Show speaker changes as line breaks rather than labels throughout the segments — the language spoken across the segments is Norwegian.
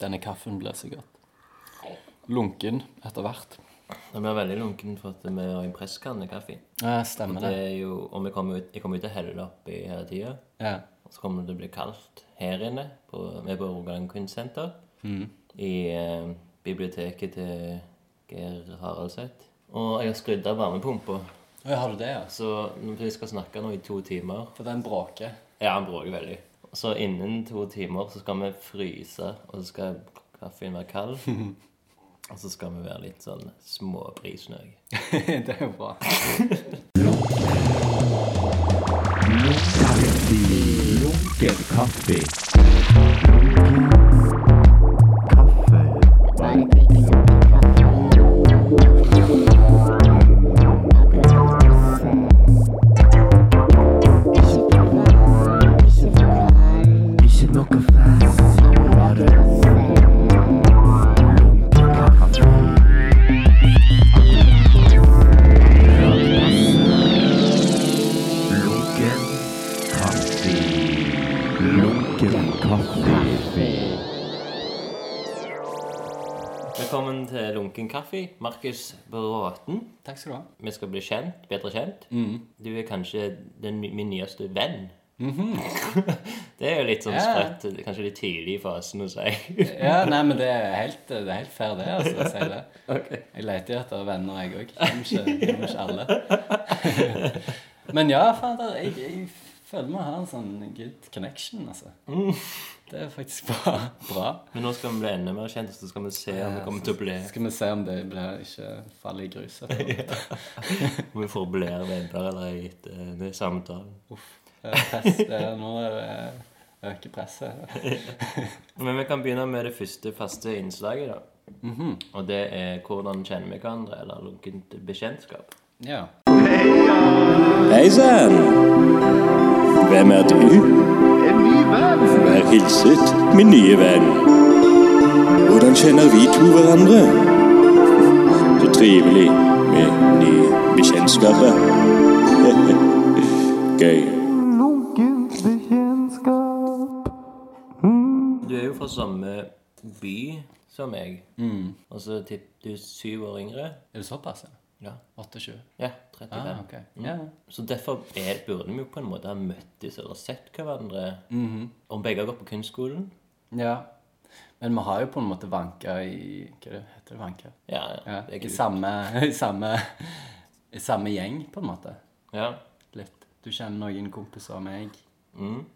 Denne kaffen blir sikkert lunken etter hvert.
Det blir veldig lunken for at vi har en presskanne kaffe.
Ja, Eh, stemmer
Det
det.
er jo, og vi kommer ut, jeg kommer ut til å helle det oppi hele tida.
Ja.
Og så kommer det til å bli kaldt her inne. På, vi er på Rogaland Kunstsenter. I eh, biblioteket til Geir Haraldseth. Og jeg har skrudd av varmepumpa.
Å, ja, har du det, ja?
Så når vi skal snakke nå i to timer
For den bråker.
Ja, han bråker veldig. Så innen to timer så skal vi fryse, og så skal kaffen være kald. Og så skal vi være litt sånn småprisnøye.
det er jo bra.
Lunken kaffe. Kaffe. Ikke noe fast. Bare lunken kaffe. Lunken kaffe. Lunken kaffe.
Velkommen til Lunken kaffe, Markus Bråten.
Takk skal du ha.
Vi skal bli kjent, bedre kjent.
Mm.
Du er kanskje den, min nyeste venn. det er jo litt sånn
Mhm. Ja.
sprøtt. Kanskje litt tidlig i fasen å si.
Ja, nei, men det er helt, det er helt fair, det. altså, å si det. Jeg leter jo etter venner, jeg òg. Kjenner ikke- kjenner ikke alle. Men ja, fader, jeg, jeg føler vi har en sånn good connection, altså. Det er faktisk bra. bra.
Men nå skal vi bli enda mer kjent, så skal vi se om vi kommer til å bli
Skal vi se om det blir ikke faller i gruset.
om vi får bli venner eller etter denne samtalen.
Press, det er, nå er det øker presset.
Men vi kan begynne med det første faste innslaget, da.
Mhm.
Og det er hvordan kjenner vi hverandre, eller lunkent bekjentskap.
Ja.
Hei sann! Hvem er du? Vær hilset, min nye venn. Hvordan kjenner vi to hverandre? Så trivelig med nye bekjentskaper. Gøy.
Du er jo fra samme by som meg,
Mm.
og så tipper du er syv år yngre.
Er det såpass, ja?
Ja,
28?
ja 35.
Ah, ok. Ja.
Så derfor er, burde vi jo på en måte ha møttes eller sett hverandre.
Mhm.
Om begge har gått på kunstskolen.
ja. Men vi har jo på en måte vanka i Hva er det? heter det? Vanka?
Ja,
Ja,
det er
i,
kult.
samme, i, samme, I samme gjeng, på en måte.
Ja.
Litt. Du kjenner noen kompiser av meg,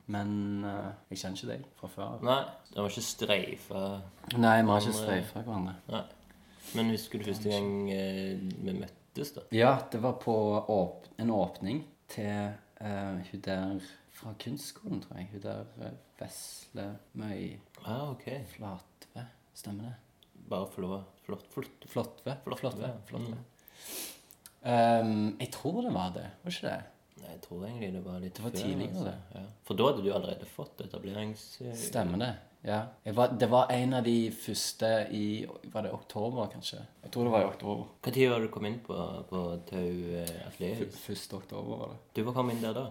men eh, jeg kjenner ikke deg fra før av.
Nei, det var ikke streifa
Nei, vi har ikke streifa fra hverandre.
Nei. Men husker du første gang eh, vi møttes, da?
Ja, det var på åp en åpning til eh, hun der fra kunstskolen, tror jeg. Hun der eh, Vesle Møy
Ah, ok.
Flatve. Stemmer det?
Bare flå. Flott. flott.
Flottve.
Flottve,
Flottve.
mm.
Flottve. Ehm, jeg tror det var det. Var ikke det?
Nei, jeg tror egentlig det var litt
var
før,
tidligere,
altså.
det.
Ja. For da hadde du allerede fått etablerings... eh,
Stemmer det. Ja. Jeg var, det var en av de første i Var det oktober, kanskje? Jeg tror det var i oktober.
Hva tid var det du kom inn på, på Tau eh, Atelier?
Første oktober var det.
Du var kommet inn der da?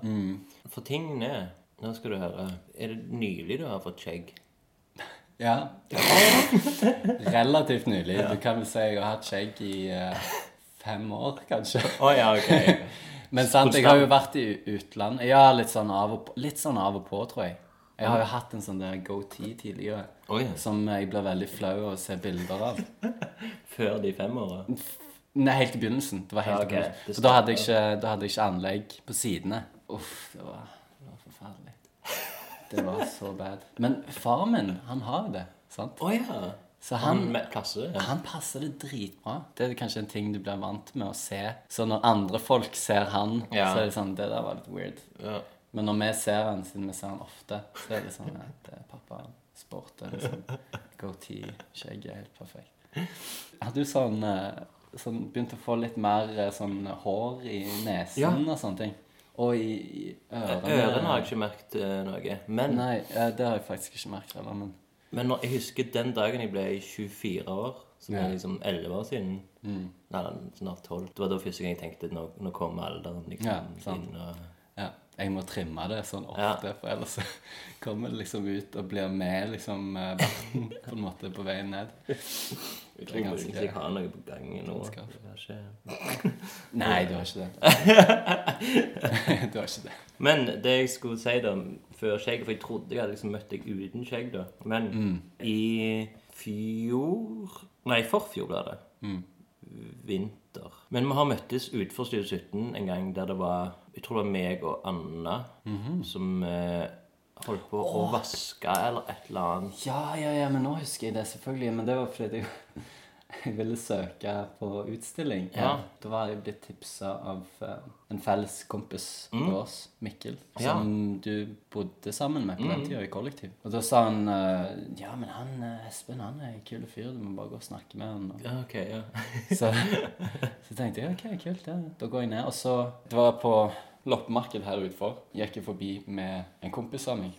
For tingene er Nå skal du høre. Er det nylig du har fått skjegg?
Ja. Relativt nylig. Du kan vel si jeg har hatt skjegg i eh, fem år, kanskje.
Å ja, ok.
Men sant, jeg har jo vært i utlandet. Ja, litt sånn av og på, litt sånn av og på tror jeg. Jeg har jo hatt en sånn der go-tee tidligere
Oi.
som jeg blir veldig flau av å se bilder av.
Før de fem åra?
Nei, helt i begynnelsen. Det var helt i
Ja, ok.
begynnelsen.
Det
For da hadde, jeg ikke, da hadde jeg ikke anlegg på sidene. Uff, det var, det var forferdelig. Det var så bad. Men faren min, han har jo det, sant?
Å ja.
Så
Han
han,
med klasse? Ja.
han passer det dritbra. Det er kanskje en ting du blir vant med å se. Så når andre folk ser han,
Ja.
så er det sånn Det der var litt weird.
ja.
Men når vi ser han, siden vi ser han ofte, så er det sånn at det er pappa sporter liksom. Goatee, skjegget er helt perfekt. Hadde du sånn, eh, sånn begynt å få litt mer eh, sånn hår i nesen
Ja.
og sånne ting? Og i i ørene?
Ørene har jeg ikke merket eh, noe. Men,
Nei, eh, det har jeg faktisk ikke merket heller, men
men når, jeg husker den dagen jeg ble 24 år, som er liksom 11 år siden Nei, snart 12. Det var da første gang jeg tenkte nå, nå kommer alderen liksom,
Ja, sant.
inn. Og,
ja. jeg må trimme det sånn ofte, for ellers så kommer det liksom ut og blir med liksom eh, vann på en måte på veien ned.
Jeg
er
tror
ganske-
egentlig jeg har noe på gang nå.
Ganske.
Jeg har ikke...
Nei, du har ikke det. du har ikke det.
Men det jeg skulle si da, før skjegget For jeg trodde jeg hadde liksom møtt deg uten skjegg, da. Men
Mm.
i fjor Nei, forfjor ble det.
Mm.
Vinter. Men vi har møttes utenfor Studio 17 en gang der det var Jeg tror det var meg og Anna
Mhm.
som eh, holdt på å vaske eller et eller annet.
Ja, ja, ja, men nå husker jeg det selvfølgelig. Men det var fordi jeg, jeg ville søke på utstilling.
Ja.
Da var jeg blitt tipsa av eh, en felles kompis av oss, Mikkel,
Mm. Ja. Mm.
som du bodde sammen med på den tida i kollektiv. Og da sa han eh, Ja, men han eh, Espen, han er en kul fyr. Du må bare gå og snakke med han. Og
Ja, ok, ja.
så, så tenkte jeg ok, kult, ja. da går jeg ned. Og så Det var på loppemarked her utenfor. Gikk jeg forbi med en kompis av meg.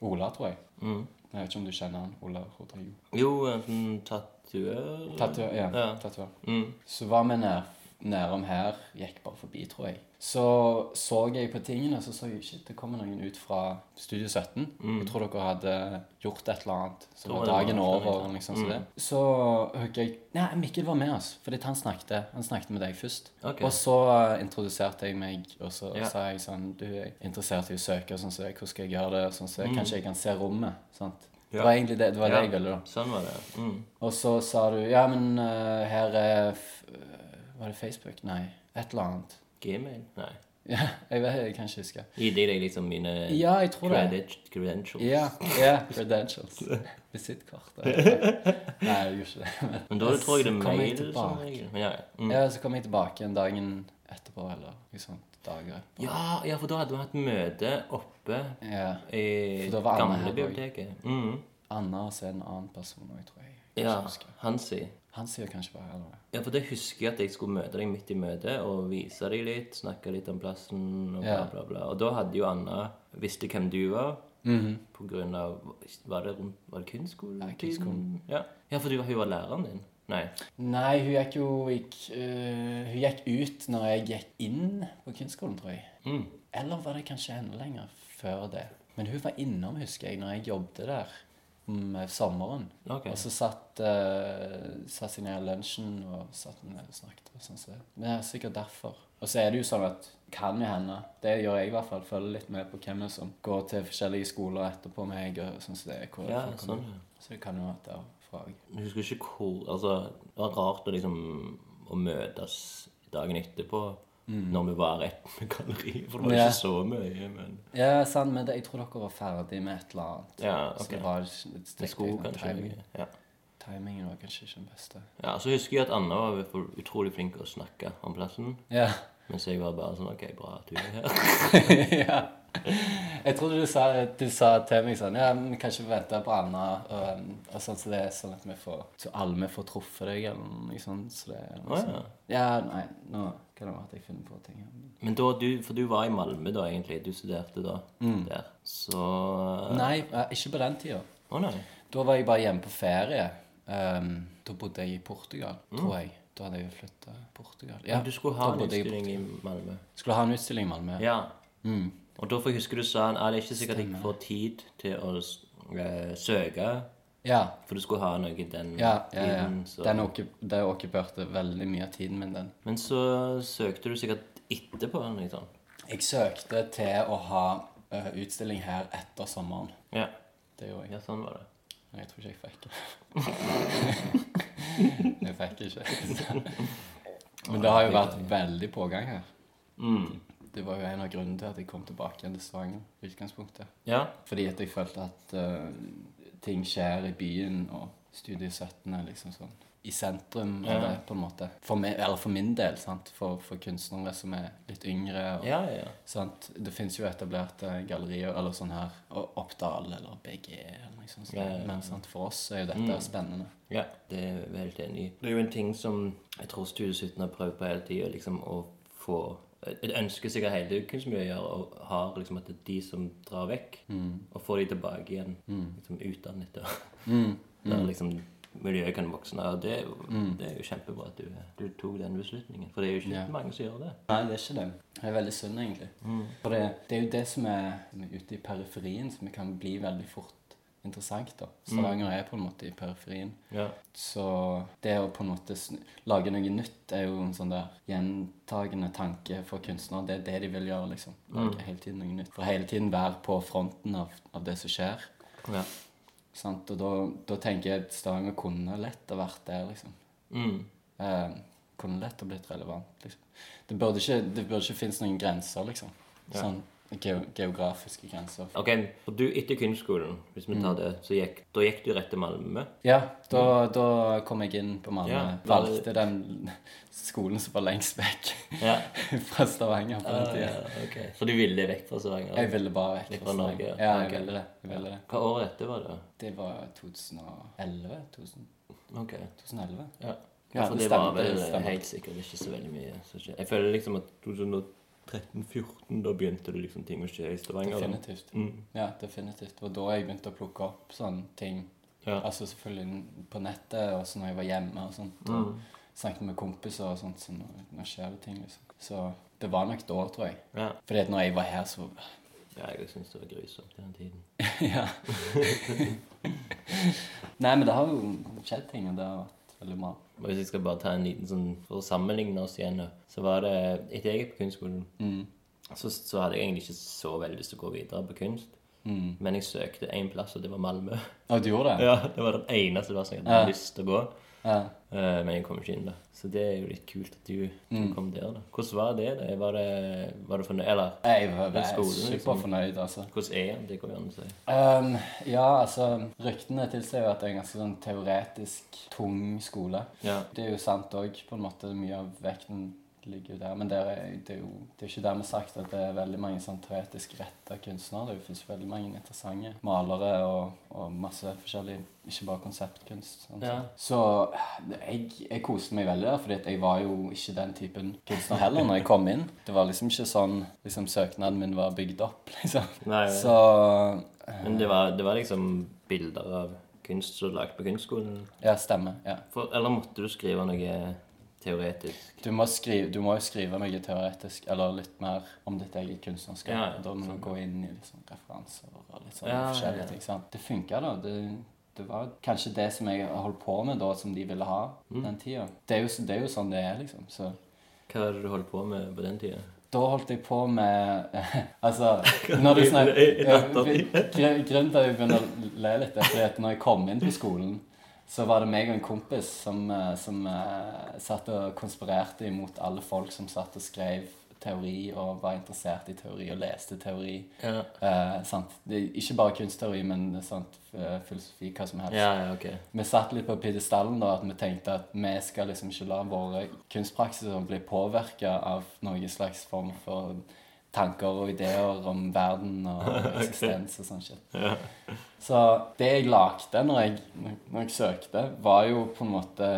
Ola, tror jeg. Jeg vet ikke om du kjenner han. Ola Rodrigo.
Jo, en sånn tatuør
Tatuør. Ja,
Ja.
tatuør.
Mm.
Så var vi nær, nærom her. Gikk bare forbi, tror jeg. Så så jeg på tingene, så så jeg shit, det kommer noen ut fra Studio 17. Jeg tror dere hadde gjort et eller annet. Så
Mm. Tror
var
det var
dagen
noe Mm.
over.
forskjellig,
liksom Så det. Så hørte jeg Nei, Mikkel var med oss, fordi at han snakket. Han snakket med deg først.
Ok.
Og så eh, introduserte jeg meg, og så
Ja.
sa jeg sånn Du jeg er interessert i å søke, og sånn som så jeg, hvordan skal jeg gjøre det? og Sånn som så jeg, Kanskje jeg kan se rommet? Sant?
Mm. Ja.
Det var egentlig det, det, var
Ja.
det jeg ville, da.
Sånn var det. Mm.
Og så sa du Ja, men eh, her er f eh, Var det Facebook? Nei. Et eller annet.
Gmail? Nei.
Ja, jeg, vet, jeg kan ikke huske.
Gi deg liksom mine
Ja, jeg tror det.
credit- credentials.
Ja, ja, credentials. Visittkort. eller et eller annet. Nei, jeg gjorde ikke det. men-
Men da tror jeg det er
Så kom jeg
mail som
tilbake.
regel. Men ja, ja. Mm.
Ja, så kom jeg tilbake en dagen etterpå, eller noe sånt. Dager.
ja, ja, for da hadde vi hatt møte oppe
Ja.
i
For da var Anne her
gamle
også.
biblioteket. Mm.
Anna og så er det en annen person òg, tror jeg.
Ja, Hansi.
Han sier kanskje bare eller noe.
Ja, for det husker jeg at jeg skulle møte deg midt i møtet og vise deg litt, snakke litt om plassen og bla,
Ja.
bla, bla. Og da hadde jo Anna visst hvem du var. På grunn av Var det, rundt, var det kunstskolen?
Ja, kunstskolen.
Mhm. Ja. ja, for du, hun var læreren din? Nei.
Nei, hun gikk jo gikk, øh, Hun gikk ut når jeg gikk inn på kunstskolen, tror jeg.
Mm.
Eller var det kanskje enda lenger før det. Men hun var innom, husker jeg, når jeg jobbet der om eh, sommeren.
Ok.
Og så satt uh, satt seg ned i lunsjen og satt ned og snakket. og sånn. så- Men det er sikkert derfor. Og så er det jo sånn at kan jo hende. Det gjør jeg i hvert fall. Følger litt med på hvem det er som går til forskjellige skoler etterpå meg. og sånn som det er. Hvor
Ja,
folk kommer.
sånn. ja.
Så det kan jo være derfra.
Jeg husker ikke hvor Altså, det var rart å liksom Å møtes dagen etterpå når vi var rett med galleriet. For det var
Mm. Ja.
ikke så mye, men
Ja, sant, men det, jeg tror dere var ferdig med et eller annet.
Ja,
Så det
ok.
var ikke- det
Det
stekte
skulle
litt,
kanskje
timing-
mye. Ja.
Timingen var kanskje ikke den beste.
ja, Så husker jeg at Anna var for- utrolig flink til å snakke om plassen.
Ja.
Mens jeg var bare sånn OK, bra at du er her.
ja. Jeg trodde du sa, du sa til meg sånn Ja, men kanskje vente på Anna, og, um, og sånn så det er sånn at vi får Så alle får truffet deg, eller noe sånt. Så det er noe
Å,
sånt. sånn. Ja, nei, nå kan det være at jeg finner på ting. her.
Men da du For du var i Malmö da, egentlig. Du studerte da der. Så Å
Mm. Nei, eh, ikke på den tida.
nei.
Da var jeg bare hjemme på ferie. Um, da bodde jeg i Portugal, tror jeg. Da hadde jeg jo flytta Portugal. Ja,
Men du skulle ha
da
en
bodde jeg i
utstilling i Malmö.
Skulle ha en utstilling i Malmö.
Ja.
Mm.
Og da får jeg huske du sa at det er ikke sikkert jeg får tid til å s- eh, søke
Ja.
For du skulle ha noe i den
ja, ja, ja.
tiden, så.
Den okku- det okkuperte veldig mye av tiden min, den.
Men så søkte du sikkert etterpå liksom. eller noe sånt.
Jeg søkte til å ha eh, utstilling her etter sommeren.
Ja.
Det gjorde jeg.
ja, sånn var det.
Men jeg tror ikke jeg fikk det. jeg fikk ikke. Men det har jo vært veldig pågang her. Det var jo en av grunnene til at jeg kom tilbake igjen til Stavanger. i utgangspunktet.
Ja.
Fordi at jeg følte at eh, ting skjer i byen, og Studie 17 er liksom sånn i sentrum av det, på en måte. For, meg, eller for min del, sant? For, for kunstnere som er litt yngre. Og,
Ja, ja.
sant? Det fins jo etablerte gallerier eller sånn her, og Oppdal eller BG eller noe sånt.
Ja, Mm. ja, ja.
Men sant? for oss er jo dette spennende.
ja. Det er jeg helt enig i. Det er jo en ting som jeg tror Studio 17 har prøvd på hele tida, liksom å få et ønske sikkert hele kunstmiljøet gjør, og har liksom at det er de som drar
Mm. Mm.
vekk, og får de tilbake igjen, liksom utdannet og der liksom miljøet kan vokse. Og det, er jo- det er jo kjempebra at du, du tok den beslutningen. For det er jo ikke
Ja.
mange som gjør det.
Nei, det er ikke det. Det er veldig synd, egentlig.
Mm.
For det, det er jo det som er, som er ute i periferien, som kan bli veldig fort interessant.
Mm.
da. Stavanger er på en måte i periferien.
Ja.
Så det å på en måte snu, lage noe nytt er jo en sånn der gjentagende tanke for kunstnere. Det er det de vil gjøre, liksom.
Mm.
Lage hele tiden noe nytt. For hele tiden være på fronten av, av det som skjer.
ja.
Sant? Og da, da tenker jeg at Stavanger kunne lett ha vært der, liksom.
Mm.
Eh, kunne lett ha blitt relevant. Liksom. Det, burde ikke, det burde ikke finnes noen grenser, liksom.
Ja.
Sånn geo geografiske grenser.
Ok, og du etter kunstskolen, hvis vi
Mm.
tar det, så gikk, da gikk du rett til Malmö.
Ja, da, da kom jeg inn på Malmö.
Ja, da-
Valgte den skolen som var lengst vekk
Ja.
fra Stavanger på den tida.
ok. Så du ville vekk fra Stavanger?
Jeg ville bare vekk
Litt fra Norge, ja.
Stavanger. Ja,
Ok.
jeg ville det. Jeg ville det.
Hva året etter var det?
Det var 2011? 2000,
Ok.
2011?
Ja.
Ja,
for
det
det, var
stemmer,
vel
det stemmer.
helt sikkert ikke så veldig mye som skjedde. Jeg føler liksom at 2013-14, da begynte det liksom ting å skje i Stavanger. da.
Definitivt.
Mm.
Ja, definitivt. Det var da jeg begynte å plukke opp sånne ting.
Ja.
Altså selvfølgelig på nettet, og så når jeg var hjemme og sånt. Og
Mm.
Snakket med kompiser og sånt, så nå, nå skjer det ting, liksom. Så det var nok da, tror jeg.
Ja.
Fordi at når jeg var her, så
ja, jeg syns det var grusomt den tiden.
Ja. Nei, men det har jo skjedd ting, og det har vært veldig bra.
Og Hvis jeg skal bare ta en liten sånn For å sammenligne oss igjen, da, så var det Etter jeg gikk på kunstskolen,
Mm.
så, så hadde jeg egentlig ikke så veldig lyst til å gå videre på kunst.
Mm.
Men jeg søkte én plass, og det var Malmö.
Å, du gjorde det?
Ja, Det var den eneste plassen jeg hadde lyst til å gå.
Ja.
Eh, men jeg kom ikke inn, da. Så det er jo litt kult at du, du
Mm.
kom der, da. Hvordan var det? da? Var det, var det fornøyd? Eller
Jeg var,
Den
var
skolen, liksom.
superfornøyd, altså.
hvordan er det? Det går jo an å si.
Ehm, ja, altså Ryktene tilsier jo at det er en ganske sånn teoretisk tung skole.
Ja.
Det er jo sant òg, på en måte. Mye av vekten ligger jo der. Men det er, det er jo det er jo ikke dermed sagt at det er veldig mange sånn teoretisk retta kunstnere. Det fins veldig mange interessante malere og, og masse forskjellig, ikke bare konseptkunst. Sånn.
Ja.
Så jeg, jeg koste meg veldig der, fordi at jeg var jo ikke den typen kunstner heller når jeg kom inn. Det var liksom ikke sånn liksom, søknaden min var bygd opp, liksom.
Nei, nei.
Så
Men det var, det var liksom bilder av kunst som lagd på kunstskolen?
Ja, stemmer. Ja.
For, eller måtte du skrive noe teoretisk?
Du, må skrive, du må jo skrive mye teoretisk, eller litt mer om ditt eget kunstnerskap.
Ja, ja,
da må
sånn.
du gå inn i liksom, referanser og litt sånn
Ja, ja, ja.
forskjellige ting. Sant? Det funka, da. Det, det var kanskje det som jeg holdt på med da, som de ville ha
Mm.
den tida. Det er, jo, det er jo sånn det er, liksom. Så
Hva var det du holdt på med på den tida?
da holdt jeg på med Altså, når du snakker
I- i ettertid.
Gru- Grunnen til at jeg begynner å le litt, er fordi at når jeg kom inn på skolen, så var det meg og en kompis som, eh, som eh, satt og konspirerte imot alle folk som satt og skrev teori og var interessert i teori og leste teori.
Ja.
Eh, sant? Det, er ikke bare kunstteori, men eh, sant, f- filosofi, hva som helst.
Ja, ja, ok.
Vi satt litt på pidestallen da, at vi tenkte at vi skal liksom ikke la våre kunstpraksiser bli påvirka av noen slags form for tanker og ideer om verden og eksistens og sånn shit. Så det jeg lagde når jeg, når jeg søkte, var jo på en måte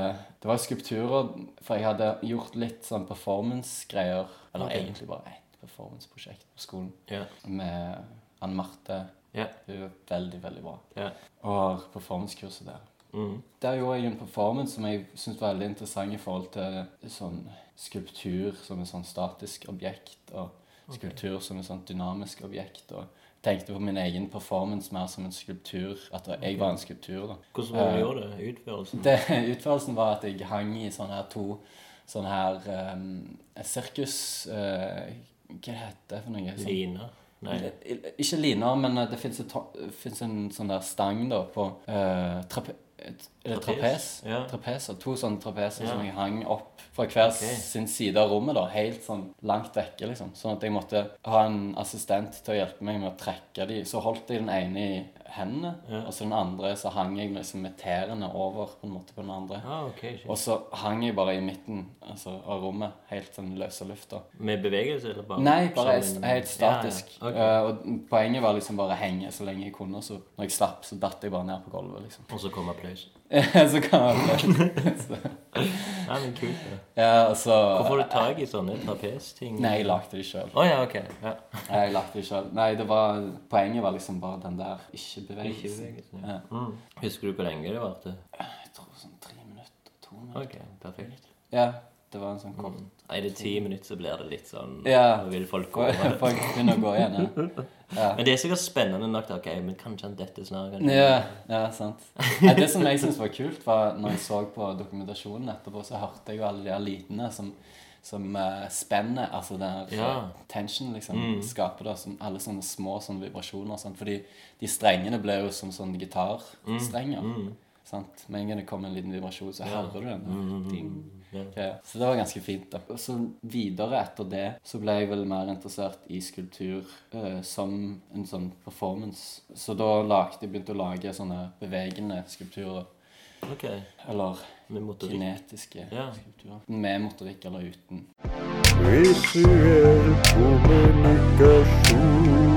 Det var skulpturer, for jeg hadde gjort litt sånn performance-greier. Eller
Ok.
egentlig bare ett performance-prosjekt på skolen
Ja.
med Anne Marte.
Ja.
Hun er veldig, veldig bra.
Ja.
Og har performancekurset der. Der gjorde jeg en performance som jeg syntes var veldig interessant i forhold til sånn skulptur som et sånn statisk objekt, og skulptur som et sånn dynamisk objekt. og tenkte på min egen performance mer som en skulptur. At jeg var en skulptur, da.
Hvordan var det du gjorde det? Utførelsen?
Det, utførelsen var at jeg hang i sånne her to sånne her um, sirkus... eh, hva heter det for noe? Sånn-
Lina? Nei.
I- i- Ikke liner, men eh, det fins en sånn der stang da på eh, trape, et- er det trapes.
Trapes, ja.
Trapeser. To sånne trapeser
Ja.
som jeg hang opp fra hver
Ok.
sin side av rommet. da, Helt sånn langt vekke, liksom. Sånn at jeg måtte ha en assistent til å hjelpe meg med å trekke de. Så holdt jeg den ene i hendene,
Ja.
og så den andre så hang jeg liksom med tærne over på en måte på den andre.
Ah, ok, shit.
Og så hang jeg bare i midten altså, av rommet, helt sånn løse lufta.
Med bevegelse, eller bare
Nei, bare helt,
sammen?
helt statisk.
Ja, ja.
Eh, og poenget var liksom bare å henge så lenge jeg kunne. og Så når jeg slapp, så datt jeg bare ned på gulvet, liksom.
Ok. Og så kom applaus.
så kan jeg
Nei, men kult. da.
Ja, og så
Hvor får du tak i sånne trapesting?
Nei, jeg lagde det sjøl.
Å ja, ok. Ja.
Jeg lagde det selv. Nei, det var Poenget var liksom bare den der ikke-bevegelsen.
Ikke bevegelse, ja. Husker du hvor lenge det varte?
Jeg tror sånn.
OK, perfekt.
Ja, det var en sånn kort
Er det ti minutter, så blir det litt sånn
Ja.
Nå vil folk gå over.
Folk begynner å gå igjen, ja.
Men det er sikkert spennende nok. til, Ok, men kanskje han detter snart. kanskje-
Ja, ja sant. Nei, det som jeg syntes var kult, var når jeg så på dokumentasjonen etterpå, så hørte jeg jo alle de her lydene som, som eh, spenner, altså den her
Ja. Mm.
tension liksom skaper da, som alle sånne små sånne vibrasjoner og sånn. Fordi de strengene ble jo som sånne gitarstrenger.
Mm.
Sant? Med en gang det kom en liten vibrasjon, så hører du den.
Mm,
der, Ding.
Ja.
Ja, Så det var ganske fint, da. Og Så videre etter det så ble jeg vel mer interessert i skulptur eh, som en sånn performance. Så da lagde, jeg begynte jeg å lage sånne bevegende skulpturer.
Ok,
Eller
med motorikk.
kinetiske
Ja.
skulpturer. Med motorikk eller uten.
Visuell kommunikasjon.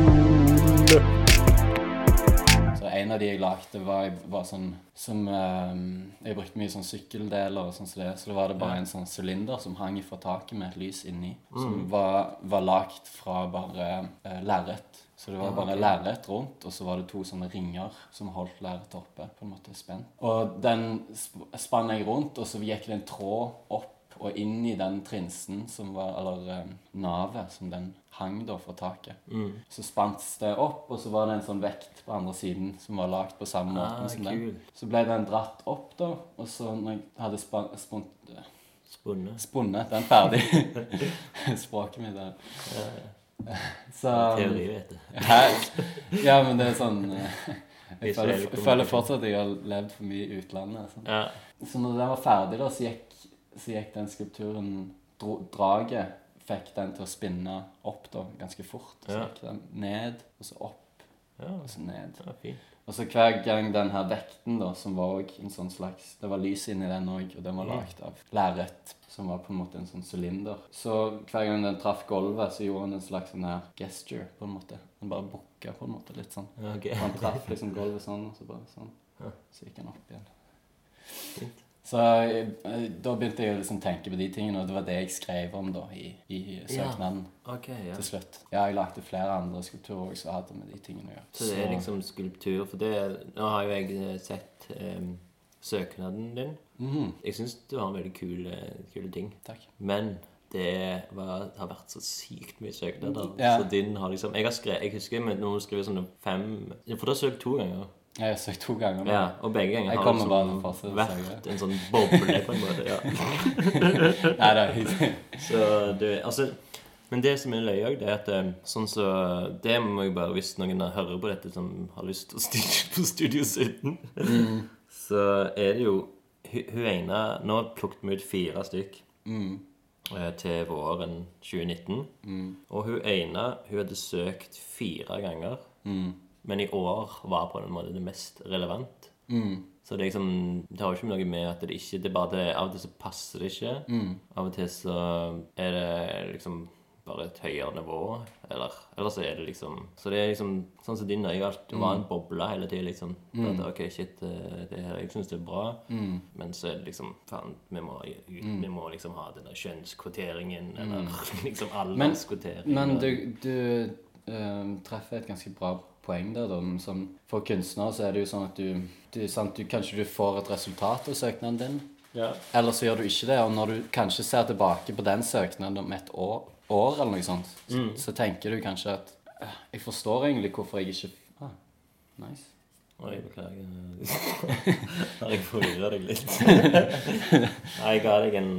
Så en av de jeg lagde, var, var sånn som eh, Jeg brukte mye sånn sykkeldeler og sånn som det, så da var det bare en sånn sylinder som hang fra taket med et lys inni. Som var, var lagd fra bare uh, lerret. Så det var bare lerret rundt, og så var det to sånne ringer som holdt lerretet oppe. på en måte spent. Og den sp spann jeg rundt, og så gikk det en tråd opp. Og inn i den trinsen, som var, eller eh, navet, som den hang da fra taket.
Mm.
Så spant det opp, og så var det en sånn vekt på andre siden som var lagd på samme
Ah,
måten som
kul.
den. Så ble den dratt opp, da, og så når jeg hadde span, spont,
Spunnet.
spunnet den ferdig Språket mitt der. Så
Teori, vet du.
Hæ? Ja, men det er sånn eh, Jeg føler, jeg
Visuell kommunikasjon.
føler fortsatt at jeg har levd for mye i utlandet. Sånn.
Ja.
Så når den var ferdig, da, så gikk, så gikk den skulpturen dro, Draget fikk den til å spinne opp da, ganske fort. Så
Ja.
gikk den ned, og så opp,
ja,
og så ned.
ja fint.
Og så hver gang den her vekten, da, som var også en sånn slags Det var lys inni den òg, og den var lagd av lerret, som var på en måte en sånn sylinder. Så hver gang den traff gulvet, så gjorde han en slags sånn her gesture, på en måte. Han bare bukka på en måte litt sånn.
Ja, ok.
Og Han traff liksom gulvet sånn, og så bare sånn. Så gikk han opp igjen.
Fint.
Så eh, da begynte jeg å liksom tenke på de tingene, og det var det jeg skrev om da i, i søknaden
Ok, ja.
til slutt. Ja, jeg lagde flere andre skulpturer også som hadde med de tingene å gjøre.
Så det er liksom skulptur. For det Nå har jo jeg eh, sett em, søknaden din. Jeg syns du har en veldig kul, eh, kule ting.
Mhm, Takk.
Men det var, har vært så sykt mye søknader.
Ja.
Så din har liksom Jeg har skrevet, jeg husker men når du skriver sånne fem For du har søkt to ganger.
Jeg har søkt to ganger. nå.
Ja, og begge ganger
Jeg
har
kommer bare til å fortsette
liksom
å
vært en sånn boble på en måte. ja.
Nei, det er hyggelig.
Så det, altså, men det som er løye òg, det er at eh, sånn så, Det må jeg bare hvis noen hører på dette som har lyst til å studie på Studio 17, så er det jo hu- Hun ene Nå plukket vi ut fire stykk eh, til våren 2019. Og hun ene hun hadde søkt fire ganger, men i år var på en måte det mest relevant. Så det, er liksom, det har jo ikke noe med at det ikke det er bare det, Av og til så passer det ikke.
Mm.
Av og til så er det liksom bare et høyere nivå. Eller, eller så er det liksom Så det er liksom sånn som din øye alt var
Mm.
en boble hele tida, liksom. At, OK, shit, eh, det her, jeg syns det er bra,
Mm.
men så er det liksom Faen, vi må, ut, vi må liksom ha den der kjønnskvoteringen, eller liksom alderskvotering.
Mm. Men
og-
du, du eh, treffer et ganske bra poeng der, da. men Som for kunstnere så er det jo sånn at du, du, sant, du Kanskje du får et resultat av søknaden din,
ja.
eller så gjør du ikke det. Og når du kanskje ser tilbake på den søknaden om et år, år eller noe sånt, så,
Mm.
så tenker du kanskje at eh, Jeg forstår egentlig hvorfor jeg ikke ah, Nice.
Oi, beklager. Har jeg forvirra deg litt? Nei, jeg ga deg en,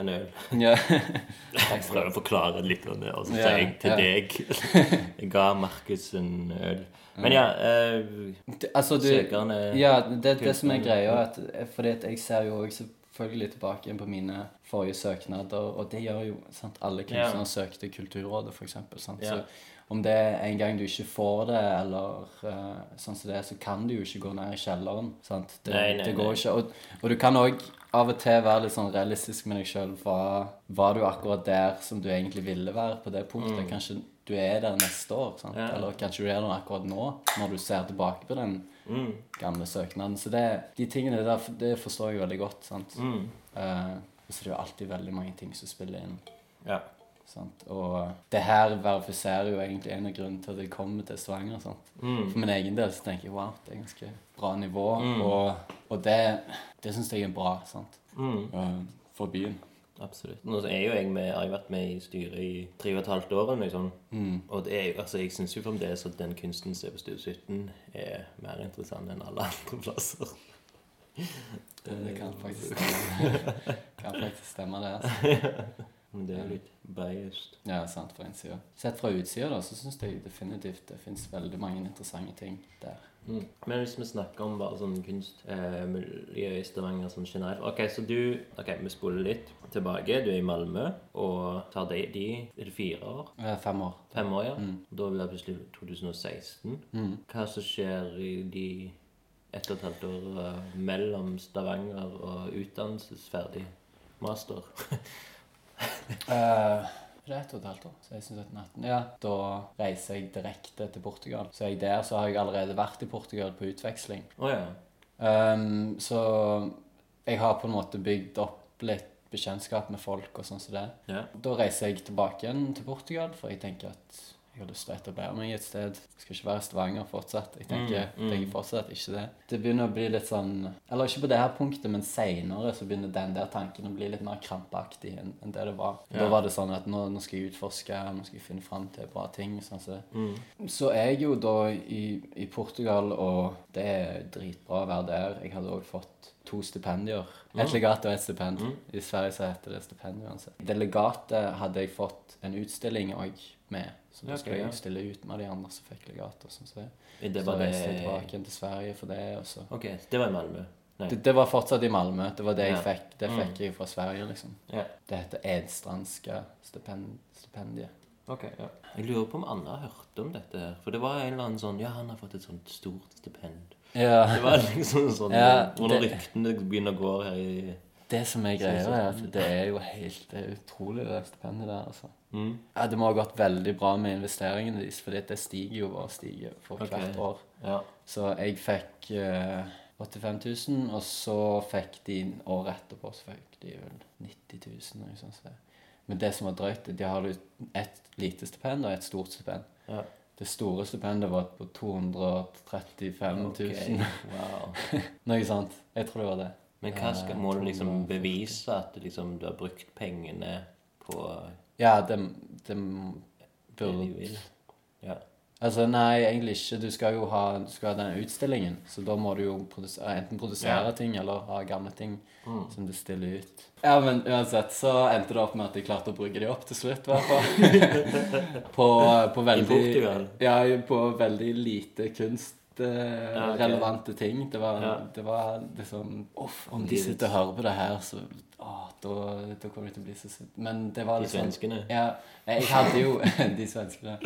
en øl.
Ja.
Jeg prøver å forklare litt om det, og så
Ja,
sier jeg til
ja.
deg Jeg ga Markus en øl. Men ja eh,
Det, altså, du,
Søkeren er-
Ja, det, det som er greia, er at eh, fordi at jeg ser jo også selvfølgelig tilbake igjen på mine forrige søknader, og det gjør jo sant, alle kunstnere
Ja.
søkte Kulturrådet, for eksempel. Sant?
Ja.
Så om det er en gang du ikke får det, eller eh, sånn som det er, så kan du jo ikke gå ned i kjelleren. Sant? Det,
Nei, nei,
det går
nei.
ikke. Og, og du kan òg av og til være litt sånn realistisk med deg sjøl. Var du akkurat der som du egentlig ville være på det punktet? Kanskje du er der neste år, sant?
Ja.
eller kanskje du er der akkurat nå, når du ser tilbake på den gamle søknaden. Så det, de tingene der, det forstår jeg veldig godt. sant? Eh, og så er det jo alltid veldig mange ting som spiller inn.
ja.
Sant? Og det her verifiserer jo egentlig en av grunnene til at jeg kommer til Stavanger. Sant? For min egen del Mm. så tenker jeg wow, det er ganske bra nivå, og, og det, det syns jeg er bra. Sant? eh, for byen.
Absolutt. Nå er jo jeg med, har jeg vært med i styret i tre og et halvt år. Liksom.
Mm.
Og det er, jo- altså, jeg syns jo fremdeles at den kunsten som er på Studio 17, er mer interessant enn alle andre plasser.
Det, det kan faktisk stemme, kan faktisk stemme det. altså.
Men det er jo litt biased.
Ja, sant, fra innsida. Sett fra utsida, da, så syns jeg definitivt det fins veldig mange interessante ting der.
Men hvis vi snakker om bare sånn kunstmiljø i Stavanger sånn generelt Ok, så du Ok, vi spoler litt tilbake. Du er i Malmø og tar de, de Er det fire år?
Eh, Fem år.
Fem år, ja.
Mm.
Da blir det plutselig 2016. Hva som skjer i de ett og et halvt år eh, mellom Stavanger og utdannelsesferdig master?
Eh, det er ett og et halvt år. 16, 17, 18. Ja. Da reiser jeg direkte til Portugal. Så er jeg der, så har jeg allerede vært i Portugal på utveksling.
Å ja.
Ehm, så jeg har på en måte bygd opp litt bekjentskap med folk og sånn som det.
ja.
Da reiser jeg tilbake igjen til Portugal, for jeg tenker at jeg har lyst til å etablere meg et sted. Jeg skal ikke være i Stavanger fortsatt. Jeg tenker, tenker fortsatt ikke det. Det begynner å bli litt sånn Eller ikke på det her punktet, men seinere så begynner den der tanken å bli litt mer krampaktig enn enn det det var. Da var det sånn at nå, nå skal jeg utforske, nå skal jeg finne fram til bra ting. sånn som det. Så er jeg jo da i, i Portugal, og det er dritbra å være der. Jeg hadde òg fått to stipendier.
Mm.
Et legat og et stipend. I Sverige så heter det stipend uansett. Det legatet hadde jeg fått en utstilling òg med. Så da
Ok,
skulle
ja.
jeg stille ut med de andre som fikk legat. og sånn som det.
Det
Så
var
reiste jeg
det
tilbake igjen til Sverige for det. og så...
Ok, det var i Malmø. Nei.
Det, det var fortsatt i Malmö. Det var det jeg
Ja. Mm.
fikk, det fikk jeg fra Sverige, liksom.
Ja.
Det heter Edstrandska stipend, stipendiet.
Ok, ja. Jeg lurer på om Anna hørte om dette her. For det var en eller annen sånn Ja, han har fått et sånt stort stipend.
Ja.
Det var liksom sånn
Ja,
Hvordan
det-
ryktene begynner å gå her i
Det som er
Sånn
greia, er at det er jo helt det er utrolig, det stipendet der. altså.
Mm.
Ja, Det må ha gått veldig bra med investeringene deres, for det stiger jo bare og stiger for
Ok.
hvert år.
Ja.
Så jeg fikk eh, 85 000, og så fikk de året etterpå så fikk de vel 90 000. Eller noe sånt. som det. Men det som var drøyt, de har jo et lite stipend og et stort stipend.
Ja.
Det store stipendet var på 235
Ok,
000.
Wow.
Noe sånt. Jeg tror det var det.
Men hva skal, må du liksom
240.
bevise at liksom, du har brukt pengene på
Ja, det, det
det
burde
de vil? Ja.
Altså, nei, egentlig ikke. Du skal jo ha, du skal ha denne utstillingen, så da må du jo produsere, enten produsere
Ja.
ting eller ha gamle ting som du stiller ut. Mm. Ja, men uansett så endte det opp med at jeg klarte å bruke de opp til slutt, i hvert fall. på, på veldig
Portugal?
Ja, på veldig lite kunst. eh,
Ja, ok.
Relevante ting. Det var,
Ja.
det var liksom Uff, om de sitter og hører på det her, så å, da, da kommer de til å bli så sinte. Men det var
De
liksom
svenskene?
Ja. nei, Jeg hadde jo De svenskene.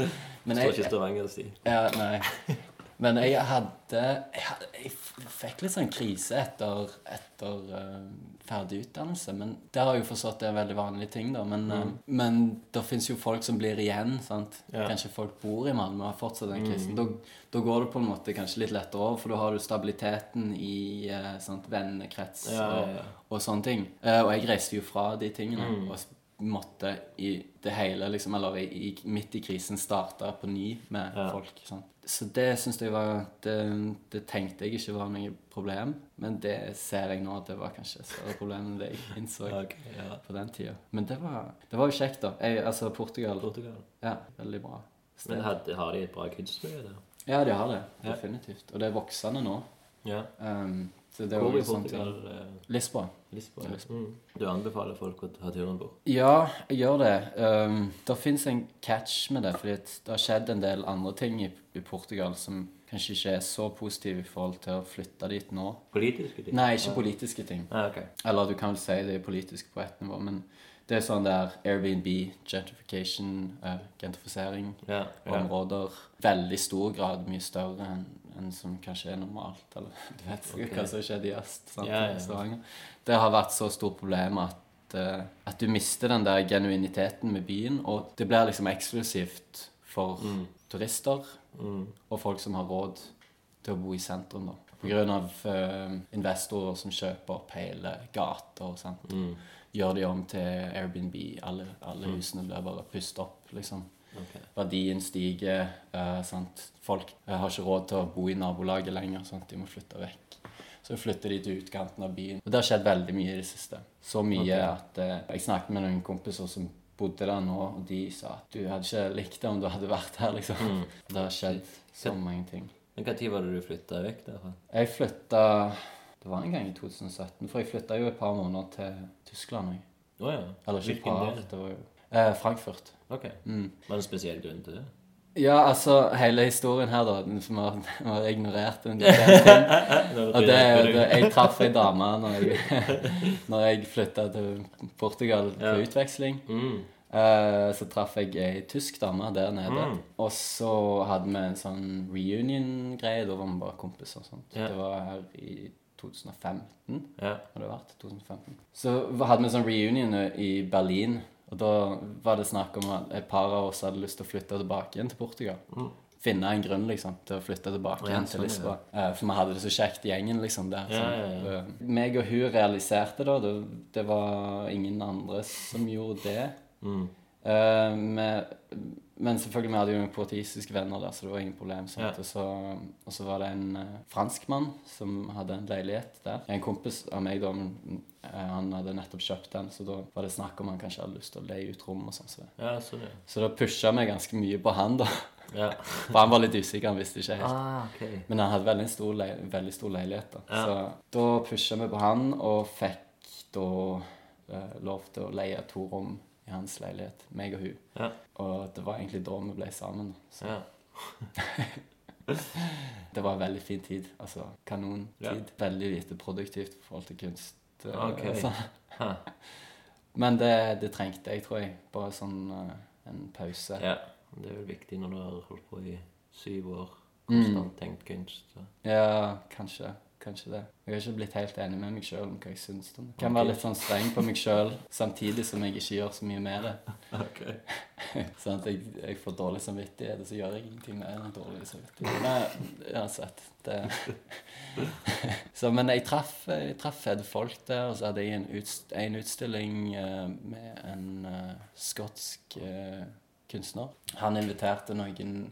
Men
Står
jeg,
ikke Stavanger si.
ja, nei. Men jeg hadde Jeg, hadde, jeg f- fikk litt sånn krise etter, etter eh, ferdig utdannelse. Men det har jeg jo forstått det er en veldig vanlig ting, da. Men, eh, men det fins jo folk som blir igjen, sant.
Mm. Ja. Mm.
Kanskje folk bor i Malmö og har fortsatt den krisen. Da, da går det på en måte kanskje litt lettere over, for da har du stabiliteten i eh, sant, vennekrets
Ja, ja,
og
ja.
og sånne ting. Eh, og jeg reiste jo fra de tingene.
Mm.
og s- måtte i det hele, liksom, eller i, i, midt i krisen, starte på ny med
Ja.
folk. Sant? Så det synes jeg var det, det tenkte jeg ikke var noe problem, men det ser jeg nå at det var kanskje et større problem enn det jeg innså
Ok, ja.
på den tida. Men det var, det var jo kjekt, da. Jeg, altså Portugal.
Portugal.
Ja, veldig bra.
Men hadde, har de et bra kunstmiljø der?
Ja, de har det. Definitivt. Og det er voksende nå.
Ja.
Um, så det er
Hvor
jo
i
litt sånn
Portugal?
ting.
eh,
Lisboa.
Lisboa. ja. Mm. Du anbefaler folk å ta turen bort?
Ja, jeg gjør det. Um, det fins en catch med det, fordi at det har skjedd en del andre ting i, i Portugal som kanskje ikke er så positive i forhold til å flytte dit nå.
Politiske ting?
Nei, ikke politiske ting.
Ah, ok.
Eller du kan vel si det er politisk på ett nivå, men det er sånn der Airbnb, gentrification, eh, gentrifisering
Ja,
og
ja.
områder veldig stor grad mye større enn enn som kanskje er normalt. Eller du vet hva som skjedde i øst. Sant,
Ja, ja, ja.
i Stavanger. Det har vært så stort problem at, eh, at du mister den der genuiniteten med byen, og det blir liksom eksklusivt for
Mm.
turister og folk som har råd til å bo i sentrum, da. På grunn av eh, investorer som kjøper opp hele gater, sant.
Mm.
Gjør de om til Airbnb. Alle, alle husene blir bare pustet opp, liksom
Ok.
verdien stiger. eh, sant? Folk eh, har ikke råd til å bo i nabolaget lenger. Sant? De må flytte vekk. Så flytter de til utkanten av byen. Og det har skjedd veldig mye i det siste. Så mye at eh, jeg snakket med noen kompiser som bodde der nå, og de sa at du hadde ikke likt det om du hadde vært her, liksom.
Mm.
Det har skjedd så mange ting.
Men Når var det du flytta vekk derfra?
Jeg flytta Det var en gang i 2017, for jeg flytta jo et par måneder til Tyskland òg.
Å ja.
Eller ikke et
Hvilken
par,
del?
det var jo eh, Frankfurt. Mm.
Ok. Var det en spesiell grunn til det?
Ja, altså, hele historien her, da, den som har, vi har ignorert en del ting Og det, det, jeg traff ei dame når jeg, når jeg flytta til Portugal på
Ja.
utveksling.
Mm.
Eh, så traff jeg ei tysk dame der nede.
Mm.
Og så hadde vi en sånn reunion-greie. Da var vi bare kompiser. og sånt.
Ja.
Det var her i 2015.
Ja.
Har det vært? 2015. Så hadde vi en sånn reunion i Berlin. Og da var det snakk om at et par av oss hadde lyst til å flytte tilbake igjen til Portugal. Finne en grunn liksom, til å flytte tilbake
Mm. Ja,
igjen
sånn,
til Lisboa. Eh, For vi hadde det så kjekt i gjengen liksom, der.
Ja,
sånn.
ja,
Eh, Meg og hun realiserte da, det, det var ingen andre som gjorde det.
Mm.
Eh, med, men selvfølgelig, vi hadde jo noen portugisiske venner der, så det var ingen problem. sant?
Ja.
Og, så, og så var det en eh, franskmann som hadde en leilighet der. En kompis av meg, da, men, eh, han hadde nettopp kjøpt den, så da var det snakk om han kanskje hadde lyst til å leie ut rom og sånn. Så,
ja, sånn, ja.
så da pusha vi ganske mye på han, da.
ja.
For han var litt usikker, han visste ikke helt.
Ah, ok.
Men han hadde veldig stor, leil veldig stor leilighet. Da.
Ja.
Så da pusha vi på han, og fikk da eh, lov til å leie to rom i hans leilighet, meg og hun.
Ja.
Og det var egentlig da vi ble sammen. da. Så
ja.
det var en veldig fin tid. Altså kanontid. Veldig lite produktivt i forhold til kunst. eh,
Ok.
altså.
Ha.
Men det, det trengte jeg, tror jeg. Bare sånn eh, en pause.
ja. Det er vel viktig når du har holdt på i syv år, konstant tenkt kunst. Så.
Ja, kanskje. Kanskje det. Jeg har ikke blitt helt enig med meg sjøl om hva jeg syns om det. Kan
Ok.
være litt sånn streng på meg sjøl samtidig som jeg ikke gjør så mye med det. Sånn at jeg, jeg får dårlig samvittighet, og så gjør jeg ingenting med den dårlige samvittigheten. Nei, uansett. Det. Så, men jeg traff, jeg traff fede folk der, og så hadde jeg en, utst en utstilling eh, med en eh, skotsk eh, kunstner. Han inviterte noen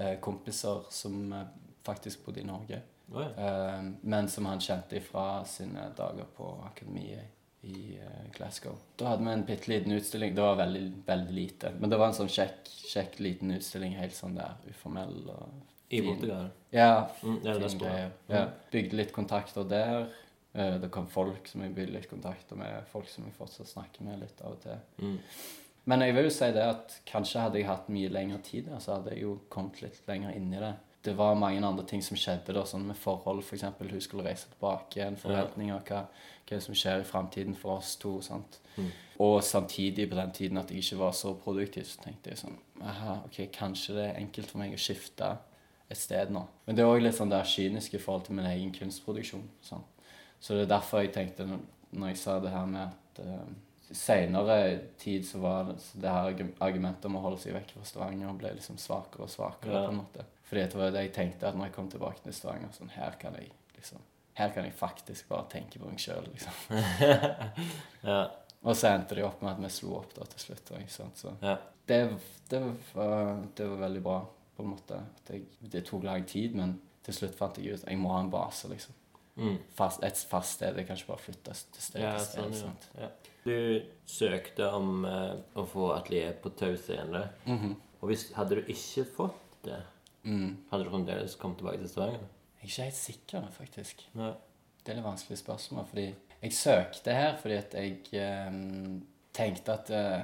eh, kompiser som eh, faktisk bodde i Norge.
Å ja.
Eh, men som han kjente ifra sine dager på akademiet i eh, Glasgow. Da hadde vi en bitte liten utstilling. Det var veldig, veldig lite. Men det var en sånn kjekk, kjekk liten utstilling, helt sånn der uformell og
I
fin.
Portugal.
Ja,
Mm, ja, det er
fin
stor.
greier. Ja. Bygde litt kontakter der. Eh, Det kom folk som jeg bygde litt kontakter med, folk som jeg fortsatt snakker med litt av og til.
Mm.
Men jeg vil jo si det at kanskje hadde jeg hatt mye lengre tid der, så hadde jeg jo kommet litt lenger inn i det. Det var mange andre ting som skjedde da, sånn med forhold, f.eks. Hun skulle reise tilbake igjen, forventninger, hva, hva som skjer i framtiden for oss to. sant? Og samtidig på den tiden at jeg ikke var så produktiv, så tenkte jeg sånn aha, ok, kanskje det er enkelt for meg å skifte et sted nå. Men det er òg litt sånn der kynisk i forhold til min egen kunstproduksjon. sant? Så det er derfor jeg tenkte når- når jeg sa det her med at uh, seinere tid så var det, så det her argu- argumentet om å holde seg vekk fra Stavanger ble liksom svakere og svakere
Ja.
på en måte. Fordi det var det jeg tenkte at når jeg kom tilbake til Stavanger, sånn her kan jeg liksom her kan jeg faktisk bare tenke på meg sjøl, liksom.
Ja.
Og så endte det jo opp med at vi slo opp da til slutt. da, Ikke sant? Så
Ja.
det, det, var, det var veldig bra, på en måte. At jeg, det tok lang tid, men til slutt fant jeg ut at jeg må ha en base, liksom
Mm.
fast, et fast sted. Jeg kan ikke bare flytte s- til sted
Ja,
til sted.
sånn, ja.
sant?
ja. Du søkte om eh, å få atelier på Tau scene. Og hvis, hadde du ikke fått det, hadde du fremdeles kommet tilbake til Stavanger?
Mm. Jeg er ikke helt sikker, faktisk.
Nei.
Det er litt vanskelig spørsmål, fordi jeg søkte her fordi at jeg ehm, tenkte at, eh,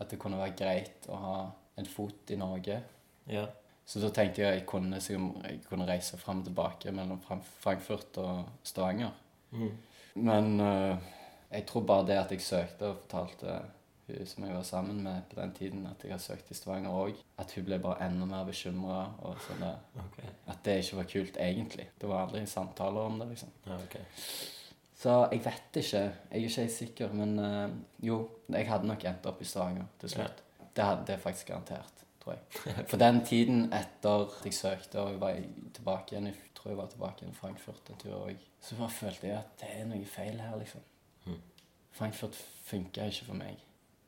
at det kunne være greit å ha en fot i Norge.
Ja.
Så da tenkte jeg at jeg kunne, se om jeg kunne reise fram og tilbake mellom Fran- Frankfurt og Stavanger. Men eh, jeg tror bare det at jeg søkte og fortalte hun som jeg var sammen med på den tiden, at jeg har søkt i Stavanger òg, at hun ble bare enda mer bekymra. Og sånn der.
Ok.
At det ikke var kult egentlig. Det var aldri samtaler om det, liksom.
Ja, ok.
Så jeg vet ikke. Jeg er ikke helt sikker. Men eh, jo, jeg hadde nok endt opp i Stavanger til slutt. Det hadde det er faktisk garantert, tror jeg. For den tiden etter at jeg søkte og jeg var i- tilbake igjen, jeg tror jeg var tilbake igjen i Frankfurt en tur òg, så bare følte jeg at det er noe feil her, liksom. Frankfurt funka ikke for meg.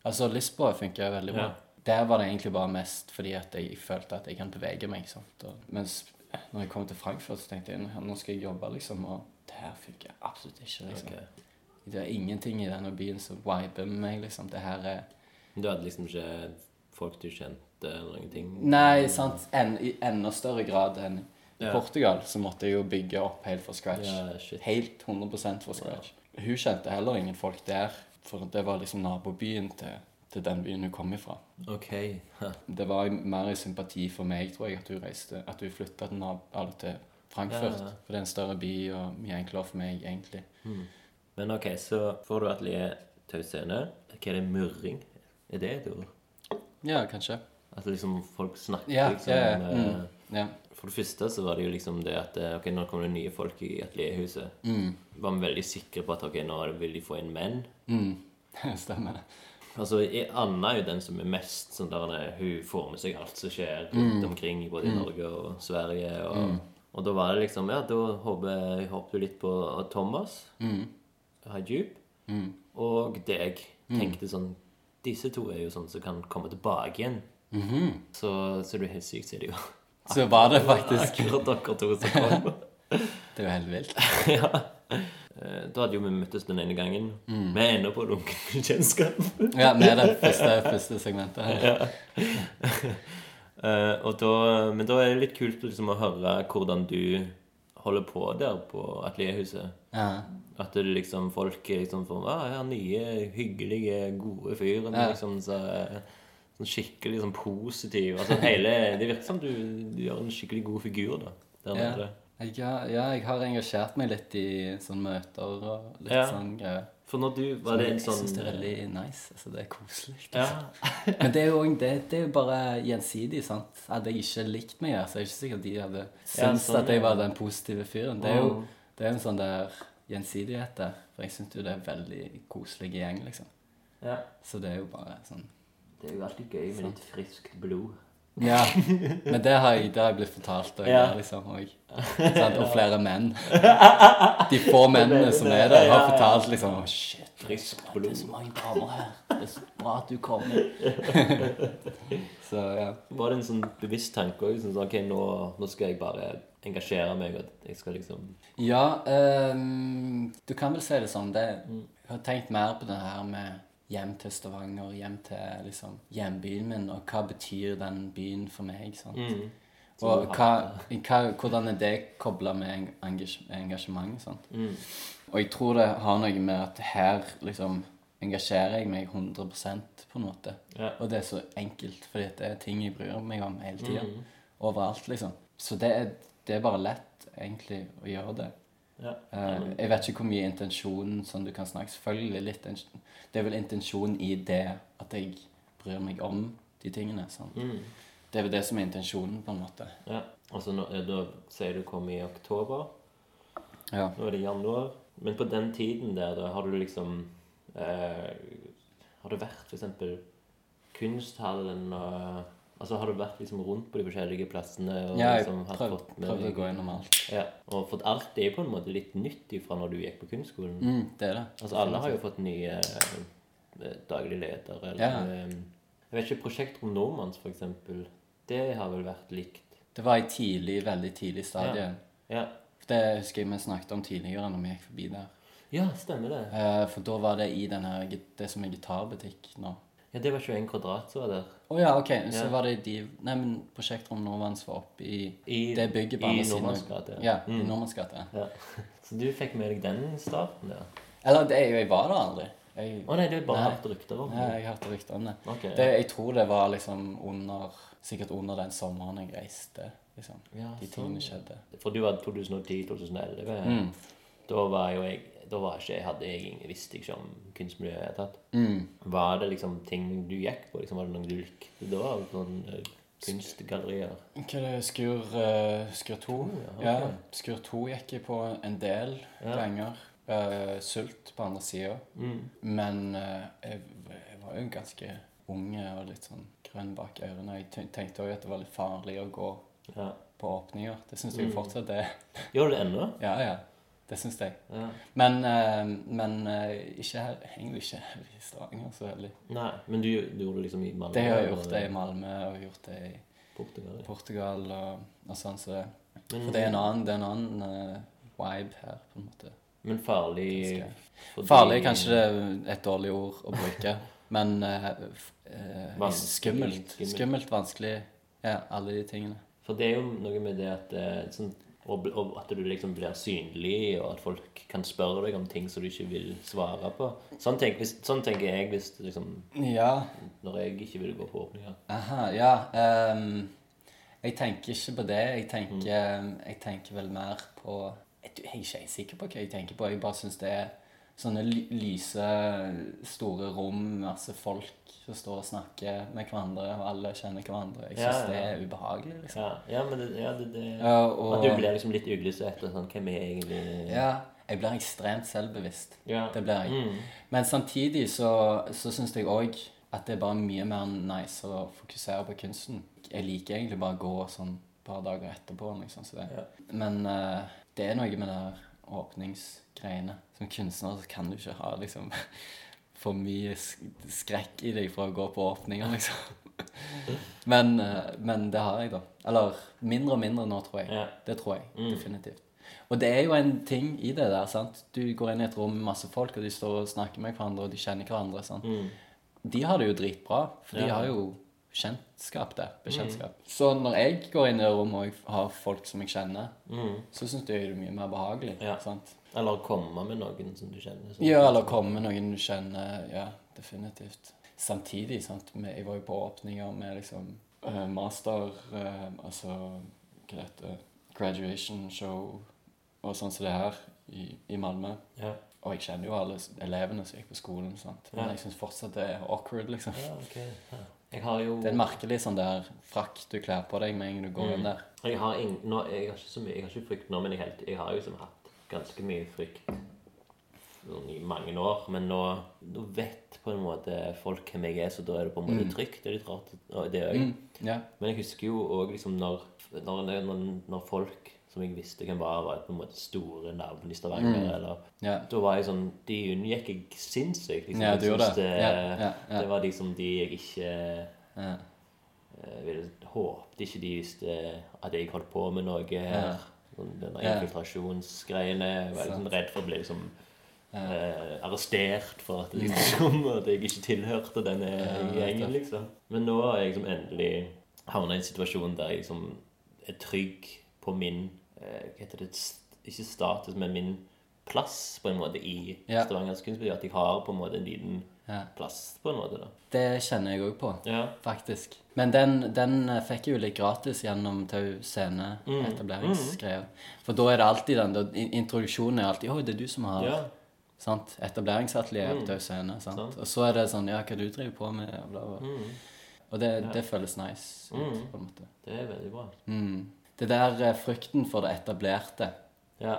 Altså, Lisboa funka veldig bra.
Ja.
Der var det egentlig bare mest fordi at jeg følte at jeg kan bevege meg. Sant? Og, mens når jeg kom til Frankfurt, så tenkte jeg nå skal jeg jobbe, liksom, og Det her funker absolutt ikke. liksom. Det er ingenting i denne byen som viber med meg. liksom. Det her er
Du hadde liksom ikke folk du kjente eller ingenting?
Nei, sant. En, I enda større grad enn i
Ja.
Portugal så måtte jeg jo bygge opp helt fra scratch.
Ja, shit.
helt 100 fra scratch. Hun kjente heller ingen folk der, for det var liksom nabobyen til, til den byen hun kom ifra.
OK. Ha.
Det var mer i sympati for meg, tror jeg, at hun reiste, at hun flytta til, nab- eller til Frankfurt.
Ja, ja.
For det er en større by og mye enklere for meg, egentlig.
Men OK, så får du atelier Tau Scene. Hva er det? Murring? Er det et ord?
Ja, kanskje.
At liksom folk snakker
Ja,
liksom
ja, ja.
eh,
Mm. Ja.
For det første så var det jo liksom det at eh, Ok, nå kommer det nye folk i atelierhuset. Var vi veldig sikre på at ok, nå vil de få inn menn?
Mm. Stemmer det.
Altså, i- Anna er jo den som er mest sånn der eh, Hun får med seg alt som skjer rundt omkring, både i Norge og Sverige. Og, og da var det liksom Ja, da håper jeg håper du litt på Thomas Hajdub og deg. Tenkte sånn Disse to er jo sånn som kan komme tilbake igjen.
Mhm.
Så, så det er helt sykt, sier de jo.
Så var det faktisk
Akkurat dere to som kom.
Det er jo helt vilt.
ja. Eh, Da hadde jo vi møttes den ene gangen. Vi ender på lunken kjennskap.
Ja, med det første, første segmentet her.
Eh, og da, men da er det litt kult liksom, å høre hvordan du holder på der på atelierhuset.
Ja.
At det liksom folk er liksom får ah, ja, nye, hyggelige, gode fyren.
Ja.
Liksom, så, eh, sånn skikkelig sånn positiv. Altså, hele, det virker som du, du gjør en skikkelig god figur da, der
Ja.
nede.
Jeg, har- ja, jeg har engasjert meg litt i sånne møter og litt
Ja.
sånn greier.
For når du Var det en
Jeg
sånn
synes det er veldig nice. altså Det er koselig.
ja.
Men det er jo også- det, det er jo bare gjensidig, sant. Hadde jeg ikke likt meg her, så er jeg ikke sikker at de hadde syntes
sånn,
at jeg
ja.
var den positive fyren. Det er jo
Mm.
det er en sånn der gjensidighet der. For jeg syns jo det er veldig koselig gjeng, liksom.
ja.
Så det er jo bare sånn
Det er jo alltid gøy med litt friskt blod.
Ja. Men det har jeg, det har jeg blitt fortalt òg.
Ja.
Liksom, og, sant? og flere menn. De få mennene som er der, har fortalt liksom Å, shit,
Friskt
det er
blod.
så mange damer her. Det er så bra at du kommer. Så ja.
Var det en sånn bevisst tanke også, sånn, sånn, Ok, nå, nå skal jeg bare engasjere meg og jeg skal liksom
Ja, ehm, du kan vel si det sånn. Det, jeg har tenkt mer på det her med hjem til Stavanger, hjem til liksom, hjembyen min, og hva betyr den byen for meg? sant? Og hva, hva, hvordan er det kobla med en- engasj- engasjement? sant? Og jeg tror det har noe med at her liksom engasjerer jeg meg 100 på en måte.
Ja.
Og det er så enkelt, fordi at det er ting jeg bryr meg om hele tida. Overalt, liksom. Så det er, det er bare lett, egentlig, å gjøre det.
Ja.
Eh,
Mm.
jeg vet ikke hvor mye intensjonen som du kan snakke Selvfølgelig litt ins- Det er vel intensjonen i det at jeg bryr meg om de tingene. sant?
Mm.
Det er vel det som er intensjonen, på en måte.
ja. Og så nå, eh, da sier du kom i oktober.
Ja.
Nå er det januar. Men på den tiden der, da, har du liksom eh, Har du vært for eksempel kunsthallen og Altså har du vært liksom rundt på de forskjellige plassene og
Ja, jeg
liksom hatt
prøvde,
fått med
prøvde å
deg-
gå gjennom alt.
Ja, og fått alt det er på en måte litt nytt ifra når du gikk på kunstskolen.
Mm, det er det.
Altså, alle har jo fått nye eh, daglig leder, eller
Ja.
eh, Jeg vet ikke, Prosjekt om Normans, for eksempel, det har vel vært likt?
Det var i tidlig, veldig tidlig stadie.
Ja,
Det husker jeg vi snakket om tidligere når vi gikk forbi der.
ja stemmer det.
Eh, For da var det i den her, git- det som er gitarbutikk nå.
Ja, Det var 21 kvadrat som var der.
Å ja, OK. Så
Ja.
var det de Nei, men Prosjektrom Nordvanns var oppe i,
I-
det bygget på
i
andre siden.
Nordmanns gate, ja. Mm.
Ja, i Nordmanns gate.
Ja. Så du fikk med deg den starten der?
Eller det, er jo- jeg var der aldri. Jeg,
Å nei, det er bare
Nei.
hatt rykter om.
nei, jeg hørte rykter om det.
Ok, ja.
det. Jeg tror det var liksom under Sikkert under den sommeren jeg reiste. liksom.
Ja,
De
sånn,
tingene
ja.
skjedde.
For du var 2010-2011. Da var jo jeg da var ikke, jeg hadde jeg ingen- visste ikke om kunstmiljøet i det hele tatt. Var det liksom ting du gikk på? Liksom, var det noe du likte da? Noen eh, kunstgallerier?
Hva er det? Skur, eh, skur 2?
ja,
ja,
ok.
Skur 2 gikk jeg på en del ganger. Eh, sult på andre sida.
Mm.
Men eh, jeg, jeg var jo ganske unge og litt sånn grønn bak ørene. Jeg ten- tenkte òg at det var litt farlig å gå
Ja. Mm.
på åpninger. Det syns jeg jo fortsatt det.
Gjør du det ennå?
Ja, ja. Det syns jeg.
Ja.
Men, eh, men eh, ikke her, egentlig ikke her i Stavanger så veldig.
Nei, men du, du gjorde det liksom i Malmö?
Det har jeg gjort
eller
det i Malmö og gjort det i
Portugal. ja.
Portugal og, og sånn. Så det.
Men- mm.
For det er en annen, det er en annen eh, vibe her, på en måte.
Men farlig
Ganske.
fordi-
Farlig er kanskje et dårlig ord å bruke, men eh, f- eh,
Vanskelig,
skummelt.
skummelt.
Skummelt, vanskelig, ja, alle de tingene.
For det er jo noe med det at eh, sånn, og, bl- og at du liksom blir synlig, og at folk kan spørre deg om ting som du ikke vil svare på. Sånn, tenk, hvis, sånn tenker jeg hvis liksom,
Ja,
når jeg ikke vil gå på åpninger.
aha, ja. ehm, jeg tenker ikke på det. Jeg tenker, ehm, jeg tenker vel mer på Jeg er ikke helt sikker på hva jeg tenker på. Jeg bare syns det er sånne ly- lyse, store rom, masse folk som står og snakker med hverandre, og alle kjenner hverandre. Jeg
Ja,
syns
ja.
det er ubehagelig, liksom.
Ja, ja men det, ja, det, det
Ja, og-
At du blir liksom litt uglesett og sånn Hvem er jeg egentlig
Ja, jeg blir ekstremt selvbevisst.
Ja. Mm.
Det blir jeg. Men samtidig så, så syns jeg òg at det er bare mye mer nice å fokusere på kunsten. Jeg liker egentlig bare å gå sånn et par dager etterpå. Liksom, så det. Men eh, det er noe med det der åpningsgreiene. Som kunstner så kan du ikke ha liksom for mye sk- skrekk i deg for å gå på åpninger, liksom. Men, eh, men det har jeg, da. Eller mindre og mindre nå, tror jeg.
Ja.
Det tror jeg
Mm.
definitivt. Og det er jo en ting i det der. sant? Du går inn i et rom med masse folk, og de står og snakker med hverandre, og de kjenner hverandre. sant? De har det jo dritbra, for de
Mm. Ja. Mm.
har jo kjentskap der. Bekjentskap. Så når jeg går inn i det rommet og jeg har folk som jeg kjenner, så syns jeg det er mye mer behagelig.
Mm. Ja.
sant?
Eller å komme med noen som du kjenner som-
Ja, eller komme med noen du kjenner. Ja, definitivt. Samtidig, sant. med- Jeg var jo på åpninger med liksom eh, master eh, Altså, hva det heter Graduation show og sånn som det her i, i Malmö.
Ja,
Og jeg kjenner jo alle s- elevene som gikk på skolen, sant. Men
Ja.
jeg syns fortsatt det er awkward, liksom.
ja ok ja. Jeg har jo
Det er en merkelig sånn der frakk du kler på deg med en gang du
Mm.
går inn der.
jeg har, ing, nå, jeg har ikke så mye Jeg har ikke frykt nå, men jeg, helt, jeg har jo liksom hatt ganske mye frykt sånn i mange år, men nå, nå vet på en måte folk hvem jeg er, så da er det på en måte trygt. Det er litt rart, og det òg.
Mm, ja.
Men jeg husker jo òg liksom når, når, når, når folk som jeg visste hvem var, var på en måte store navn i Stavanger eller
ja.
Da var jeg sånn De unngikk jeg sinnssykt. Liksom.
Ja,
Jeg
du gjorde
synes
det. Ja, ja, ja.
Det var liksom de jeg ikke
ja.
eh, ville Håpte ikke de visste at jeg holdt på med noe her. Sånn, Den
Ja.
infiltrasjonsgreiene. Jeg var liksom
Sant.
redd for å bli liksom eh, arrestert for at,
Mm.
liksom, at jeg ikke tilhørte denne gjengen, liksom. Men nå har jeg liksom endelig havna i en situasjon der jeg liksom er trygg på min eh, Hva heter det st- Ikke status, men min plass på en måte i
Ja.
Stavangers kunstmiljø. At jeg har på en måte en liten
Ja.
plass, på en måte. da.
Det kjenner jeg òg på.
Ja.
Faktisk. Men den, den eh, fikk jeg jo litt gratis gjennom Tau
Mm.
Scene-etableringsgreier. For da er det alltid den da, in- Introduksjonen er alltid 'Å, det er du som har
ja. Mm.
sant? etableringsatelier på Tau Scene'. Sant?
Sant. Mm.
Og så er det sånn 'Ja, hva du driver på med?' og bla, bla. Og det, det føles nice ut, på en måte.
Det er veldig bra.
Mm. Det der eh, frykten for det etablerte,
Ja.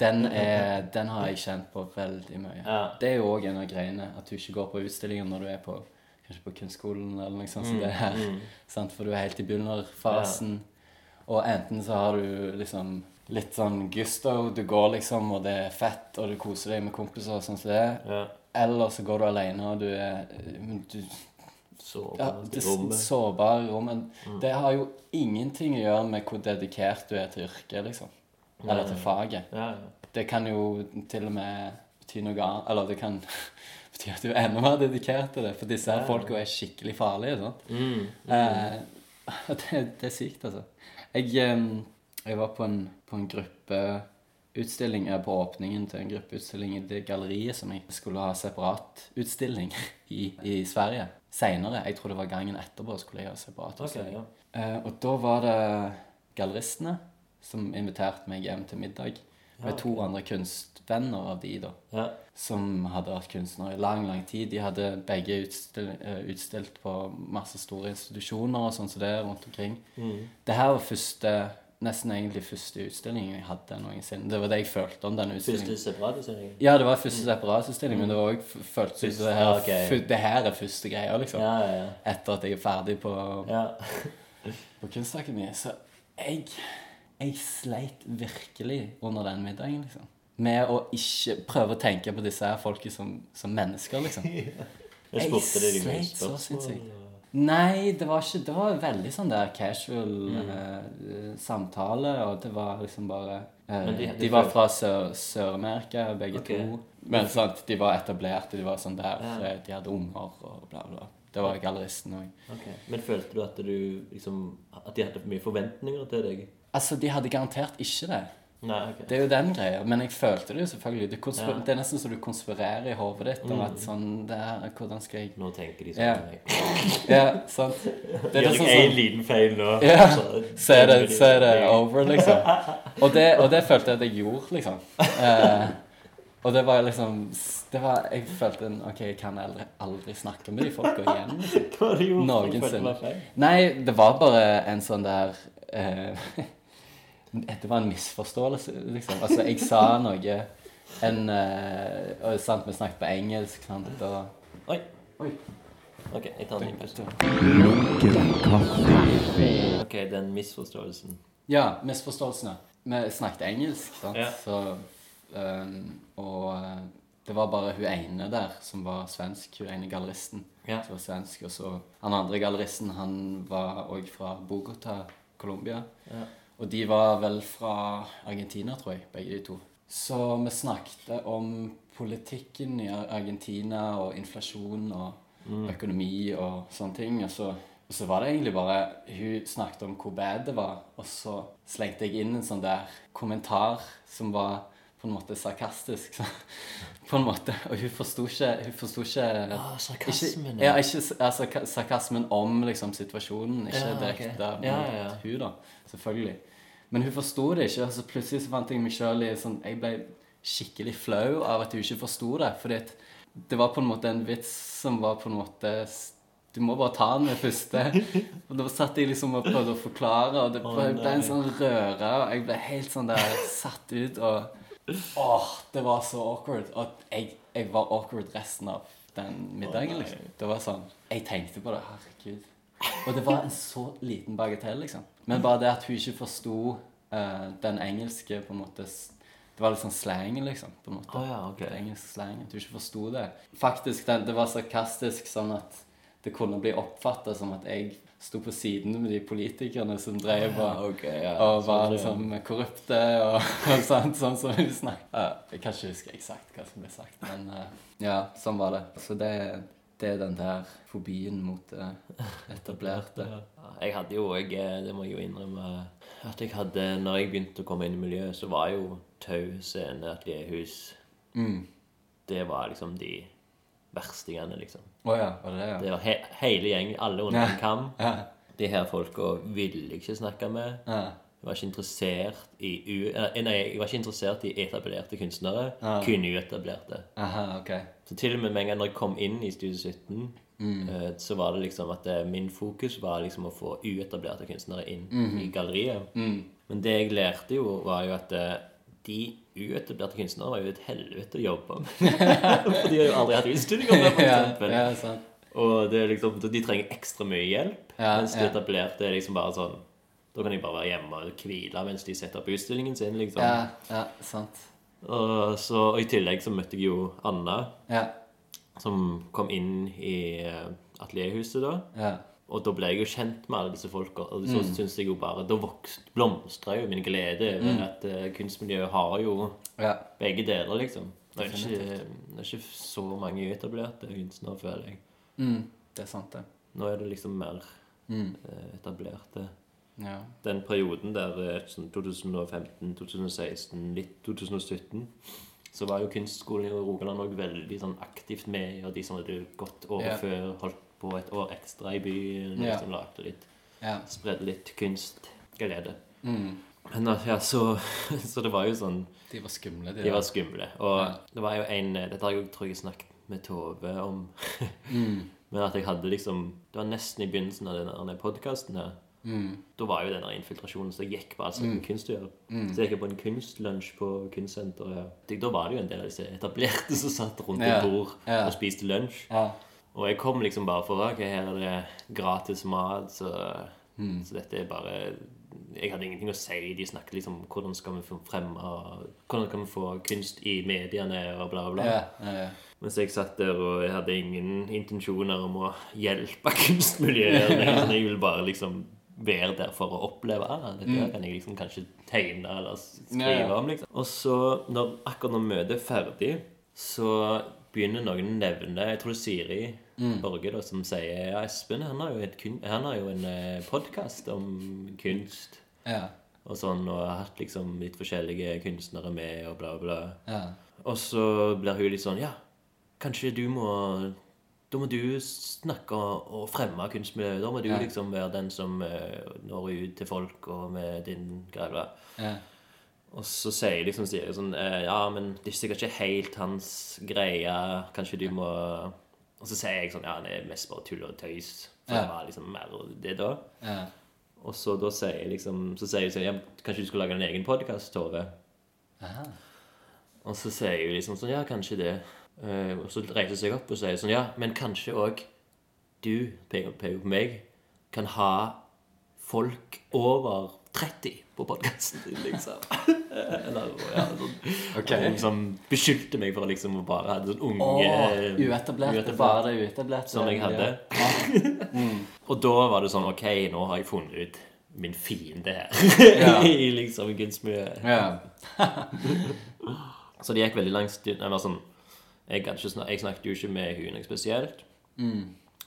den, er, den har jeg kjent på veldig mye.
Ja.
Det er jo òg en av greiene, at du ikke går på utstillinger når du er på kanskje på kunstskolen eller noe sånt som
Mm,
det her. Sant? For du er helt i begynnerfasen. Og enten så har du liksom litt sånn gusto, du går liksom, og det er fett, og du koser deg med kompiser og sånn som det.
ja.
Eller så går du alene, og du er men du,
Så
ja,
åpnet
det er
rommet. Mm.
sårbare rom. Men det har jo ingenting å gjøre med hvor dedikert du er til yrket, liksom. Eller til faget
Ja, ja.
det kan jo til og med bety noe annet Eller det kan bety at du er enda mer dedikert til det, for disse her folka er skikkelig farlige. Sant? Eh, og det, det er sykt, altså. Jeg, eh, jeg var på en, på en gruppeutstilling eh, på åpningen til en gruppeutstilling i det galleriet som jeg skulle ha separat utstilling i, i Sverige seinere. Jeg tror det var gangen etterpå skulle jeg ha separat
Ok,
utstilling.
ja.
Eh, og da var det galleristene som inviterte meg hjem til middag. Med to andre kunstvenner av de, da.
ja.
Som hadde vært kunstnere i lang, lang tid. De hadde begge utstil, eh, utstilt på masse store institusjoner og sånn som det rundt omkring.
Mm.
Det her var første, nesten egentlig første utstillingen jeg hadde noensinne. Det var det jeg følte om denne utstillingen.
Første separatisering.
Ja, det var første separatutstilling, men det var også føltes ut som det, her-
Første, ja, ok.
fu- det her er første greia, liksom.
Ja, ja, ja.
Etter at jeg er ferdig på
ja.
på Kunstakademiet, så jeg, jeg sleit virkelig under den middagen, liksom. Med å ikke prøve å tenke på disse her folket som, som mennesker, liksom.
Jeg spurte deg de mye
sleit så
spørsmål.
sinnssykt. Nei, det var ikke Det
Mm.
var veldig sånn der casual eh, samtale, og det var liksom bare eh, Eh,
Men de-
de,
de
var
føl-
fra Sør- Sør-Amerika, begge
Ok.
to. Men sant, de var etablerte, de var sånn der,
Ja.
eh, de hadde unger og bla, bla. Det var galleristen òg.
Ok. Men følte du at du liksom At de hadde for mye forventninger til deg?
Altså, de hadde garantert ikke det.
Nei, ok.
Det er jo den greia. Men jeg følte det jo selvfølgelig. Det, konspir-
Ja.
det er nesten så du konspirerer i hodet ditt om at sånn det her, Hvordan skal jeg
Nå tenker de
Ja.
sånn. Ja.
Ja, sant. Det er
Gjør
nesten
jeg én
sånn
liten feil nå,
Ja,
så-
så er det, så er det over, liksom. Og det, og det følte jeg at jeg gjorde, liksom. Eh, og det var liksom det var, Jeg følte en, OK, jeg kan aldri, aldri snakke med de folka igjen. Liksom.
Hva har du gjort for å føle
Noensinne.
meg feil?
Nei, det var bare en sånn der eh, Det var en misforståelse, liksom. Altså, jeg sa noe en, eh, og sant, Vi snakket på engelsk, sant, og
Oi.
Oi.
Ok, jeg tar en ny pause.
Lunken kaffe.
Ok, den misforståelsen.
Ja, misforståelsene. Vi snakket engelsk, sant?
Ja.
Så, ehm, og eh, det var bare hun ene der som var svensk, hun ene galleristen.
Ja.
Som var svensk, og så Han andre galleristen han var òg fra Bogotá, Colombia.
Ja.
Og de var vel fra Argentina, tror jeg, begge de to. Så vi snakket om politikken i Ar- Argentina og inflasjon og
Mm.
økonomi og sånne ting. Og så, og så var det egentlig bare Hun snakket om hvor bad det var, og så slengte jeg inn en sånn der kommentar som var på en måte sarkastisk. Så, på en måte. Og hun forsto ikke, hun forsto ikke
Ah, sarkasmen,
ikke, ja. Ikke s- altså, ka- sarkasmen om liksom, situasjonen, ikke
Ja, ok.
direkte mot
Ja, ja, ja.
hun da, selvfølgelig. Men hun forsto det ikke, og så plutselig så fant jeg meg sjøl i sånn Jeg ble skikkelig flau av at hun ikke forsto det, fordi at det var på en måte en vits som var på en måte s- Du må bare ta den med første. Og da satt jeg liksom og prøvde å forklare, og det ble,
nei.
ble en sånn røre, og jeg ble helt sånn der satt ut og Åh, det var så awkward. Og jeg, jeg var awkward resten av den middagen. liksom. Det var sånn, Jeg tenkte på det. Herregud. Og det var en så liten bagatell, liksom. Men bare det at hun ikke forsto eh, den engelske på en måte, s- Det var litt sånn slang, liksom. på en måte.
Å ja, ok.
Det engelske slang, At hun ikke forsto det. Faktisk, den, det var sarkastisk sånn at det kunne bli oppfatta som at jeg sto på siden med de politikerne som drev og
Ah,
og var liksom korrupte og, og sånt, sånn som hun snakket. Ja, Jeg kan ikke huske eksakt hva som ble sagt, men eh, ja, sånn var det. Så det, det er den der fobien mot det etablerte.
Jeg hadde jo òg, det må jeg jo innrømme At jeg hadde, når jeg begynte å komme inn i miljøet, så var jo tau, scene, atelier-hus
Mm.
Det var liksom de verstingene, liksom.
Å ja, var det det?
Det var he hele gjengen, alle under en kam.
Ja.
De her folka ville jeg ikke snakke med.
Ja.
Jeg var ikke interessert i u eh, Nei, jeg var ikke interessert i etablerte kunstnere. Kun uetablerte.
Aha, ok.
Så til og med med en gang når jeg kom inn i Studio 17,
Mm.
eh, så var det liksom at eh, min fokus var liksom å få uetablerte kunstnere inn
Mhm.
i galleriet.
Mm.
Men det jeg lærte jo, var jo at eh, de uetablerte kunstnere var jo et helvete å jobbe med. For de har jo aldri hatt utstillinger før, for
Ja,
eksempel.
ja, sant.
Og det er liksom, de trenger ekstra mye hjelp.
Ja,
mens de
ja.
etablerte er liksom bare sånn Da kan de bare være hjemme og hvile mens de setter opp utstillingen sin, liksom.
Ja, ja, sant.
Og, så, og i tillegg så møtte jeg jo Anna
Ja,
som kom inn i eh, atelierhuset da.
ja.
Og da ble jeg jo kjent med alle disse folka. Og så synes jeg jo bare, da vokst, blomstra jo min glede over at eh, kunstmiljøet har jo
Ja,
begge deler, liksom. Det er ikke, det er ikke så mange etablerte kunstnere, føler jeg.
mm, det er sant det.
Nå er det liksom mer
Mm.
eh, etablerte.
Ja.
Den perioden der, eh, sånn 2015, 2016, litt 2017, så var jo kunstskolen i Rogaland også veldig sånn aktivt med, og de som hadde gått året
Ja.
før, holdt på et år ekstra i byen,
Ja.
liksom lagde litt,
Ja.
spredde litt kunstglede.
Mm.
Men at- ja, så, så det var jo sånn,
De var skumle, de
de var
der.
skumle. Og
Ja.
det var jo en, eh, dette har jeg jo, tror jeg snakket med Tove om,
Mm.
men at jeg hadde liksom, det var nesten i begynnelsen av denne podcasten her,
Mm.
da var jo denne infiltrasjonen så jeg gikk på alt som kunst å gjøre.
Mm.
Så jeg gikk jeg på en kunstlunsj på kunstsenteret. her. Det- Da var det jo en del av disse etablerte som satt rundt
Ja,
et bord
ja.
og spiste lunsj.
Ja.
Og jeg kom liksom bare for ok, her er det gratis mat, så, så dette er bare Jeg hadde ingenting å si. De snakket liksom om hvordan skal vi få fremme Hvordan kan vi få kunst i mediene, og bla, bla, bla.
Ja, ja, ja.
Mens jeg satt der og jeg hadde ingen intensjoner om å hjelpe kunstmiljøet. eller noe sånt. Jeg ville bare liksom være der for å oppleve ah, dette her kan jeg liksom kanskje tegne eller s- skrive
Mm. Ja, ja.
om. liksom. Og så, når, akkurat når møtet er ferdig, så begynner noen å nevne Jeg tror det er Siri
Mm.
Borge da, som sier ja, Espen han har jo, et kun, han har jo en podkast om kunst
Ja.
og sånn, og har hatt liksom litt forskjellige kunstnere med, og bla, bla.
Ja.
Og så blir hun litt sånn Ja, kanskje du må Da må du snakke og, og fremme kunstmiljøet. Da må du
Ja.
liksom være den som eh, når ut til folk og med din greie.
Ja.
Og så sier liksom Siri sånn eh, Ja, men det er sikkert ikke helt hans greie. Kanskje du må Og så sier jeg sånn Ja, det er mest bare tull og tøys. For
Ja.
det var liksom mer det da.
Ja.
Og så da sier jeg liksom Så sier jeg sånn Ja, kanskje du skulle lage en egen podkast, Tove?
Aha.
Og så sier jeg jo liksom sånn, ja, kanskje det. Eh, og så reiser jeg seg opp og sier sånn, ja, men kanskje også du, peker peker på meg, kan ha folk over 30 på podcasten din, liksom. Eller, ja, sånn.
Ok.
Og Liksom beskyldte meg for å liksom å bare ha sånn unge...
Åh, uetablerte. Bare det uetablerte.
Som jeg hadde. Og da var det sånn Ok, nå har jeg funnet ut min fiende her.
Ja.
I liksom kunstmiljøet.
Ja.
Så det gikk veldig lang stund Eller sånn Jeg, gadd ikke snak, jeg snakket jo ikke med hun jeg spesielt.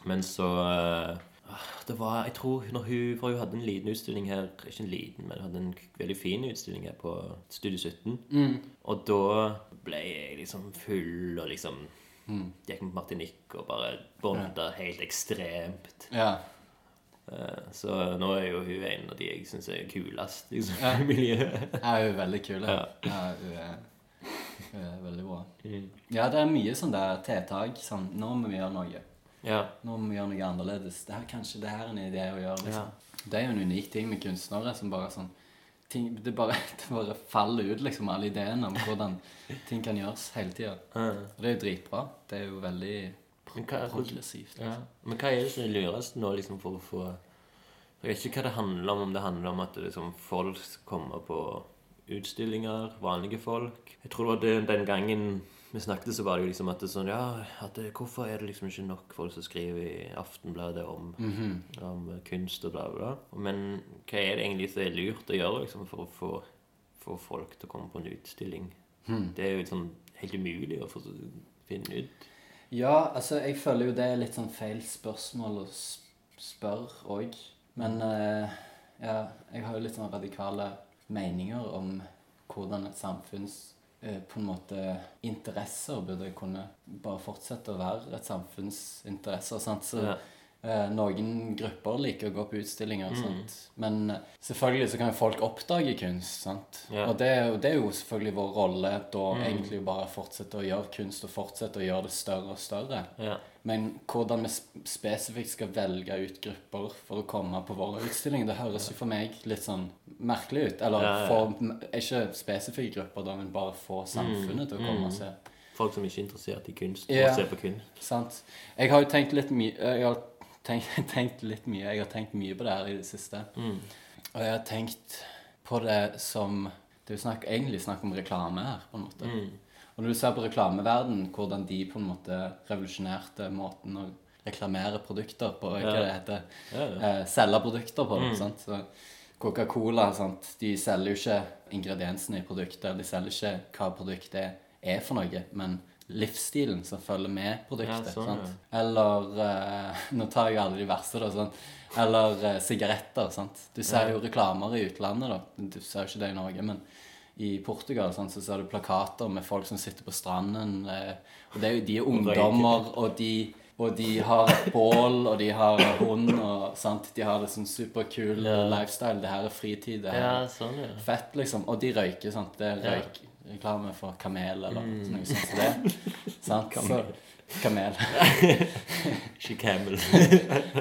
Men så eh, Det var Jeg tror når hun For hun hadde en liten utstilling her Ikke en liten, men hun hadde en veldig fin utstilling her på Studio 17. Og da ble jeg liksom full og liksom Gikk med Martinique og bare bonda helt ekstremt.
Ja.
Eh, Så nå er jo hun en av de jeg syns er kulest liksom, i miljøet.
Ja, hun er veldig kul. Ja. Ja, hun er, hun er eh, veldig bra. Ja, det er mye sånn der tiltak. Sånn, nå må vi gjøre noe.
Ja.
Nå må vi gjøre noe annerledes. Det her, kanskje det her er en idé å gjøre. Liksom. Det er jo en unik ting med kunstnere som bare sånn ting, det, bare, det bare faller ut, liksom, alle ideene om hvordan ting kan gjøres hele tida. Og det er jo dritbra. Det er jo veldig pro-
Men hva er-
progressivt.
Ja. Men hva er det som er lurest nå liksom, for å få Jeg vet ikke hva det handler om, om det handler om at liksom, folk kommer på utstillinger, vanlige folk Jeg tror det var det, den gangen vi snakket, så var det jo liksom at det er sånn Ja, at det, hvorfor er det liksom ikke nok folk som skriver i Aftenbladet om, om kunst og bla, bla, bla? Men hva er det egentlig som er lurt å gjøre liksom, for å få, få folk til å komme på en utstilling? Det er jo liksom helt umulig å få, finne ut.
Ja, altså, jeg føler jo det er litt sånn feil spørsmål å s- spørre òg. Men eh, ja, jeg har jo litt sånn radikale meninger om hvordan et samfunns eh, på en måte interesser burde kunne bare fortsette å være et samfunns interesser. Sant? Så
Ja.
eh, noen grupper liker å gå på
Mm.
utstillinger. Sant? Men eh, selvfølgelig så kan jo folk oppdage kunst. Sant?
Ja.
Og det er, jo, det er jo selvfølgelig vår rolle da
Mm.
egentlig bare fortsette å gjøre kunst og fortsette å gjøre det større og større.
Ja.
Men hvordan vi sp- spesifikt skal velge ut grupper for å komme på våre utstillinger, det høres jo for meg litt sånn merkelig ut. Eller
Ja, ja, ja.
for m- ikke spesifikke grupper, da, men bare få samfunnet til å
Mm.
komme og se.
Folk som ikke er interessert i kunst,
Ja.
og ser på kunst.
Sant? Jeg har jo tenkt litt mye Jeg har tenkt, tenkt litt mye Jeg har tenkt mye på det her i det siste.
Mm.
Og jeg har tenkt på det som Det er jo snakk, egentlig snakk om reklame her, på en måte.
Mm.
Og når du ser på reklameverdenen, hvordan de på en måte revolusjonerte måten å reklamere produkter på, hva det heter, eh, selge produkter på.
Mm.
sant? Så Coca-Cola sant? De selger jo ikke ingrediensene i produktet, de selger ikke hva produktet er for noe, men livsstilen som følger med produktet.
Ja, sånn,
sant? Eller eh, Nå tar jeg alle de verste, da. Sant? Eller eh, sigaretter. sant? Du ser jo reklamer i utlandet, da. Du ser jo ikke det i Norge, men i Portugal sant, så ser du plakater med folk som sitter på stranden. eh, og det er jo, De er ungdommer, og de, og de har et bål, og de har hund, og sant? de har det sånn superkul lifestyle. Det her er fritid. det her
Ja, sånn, ja.
fett, liksom. Og de røyker, sant. Det er
Ja.
røyk, reklame for kamel eller noe sånt som det. sant? Kamel. Så, kamel.
Ikke camel.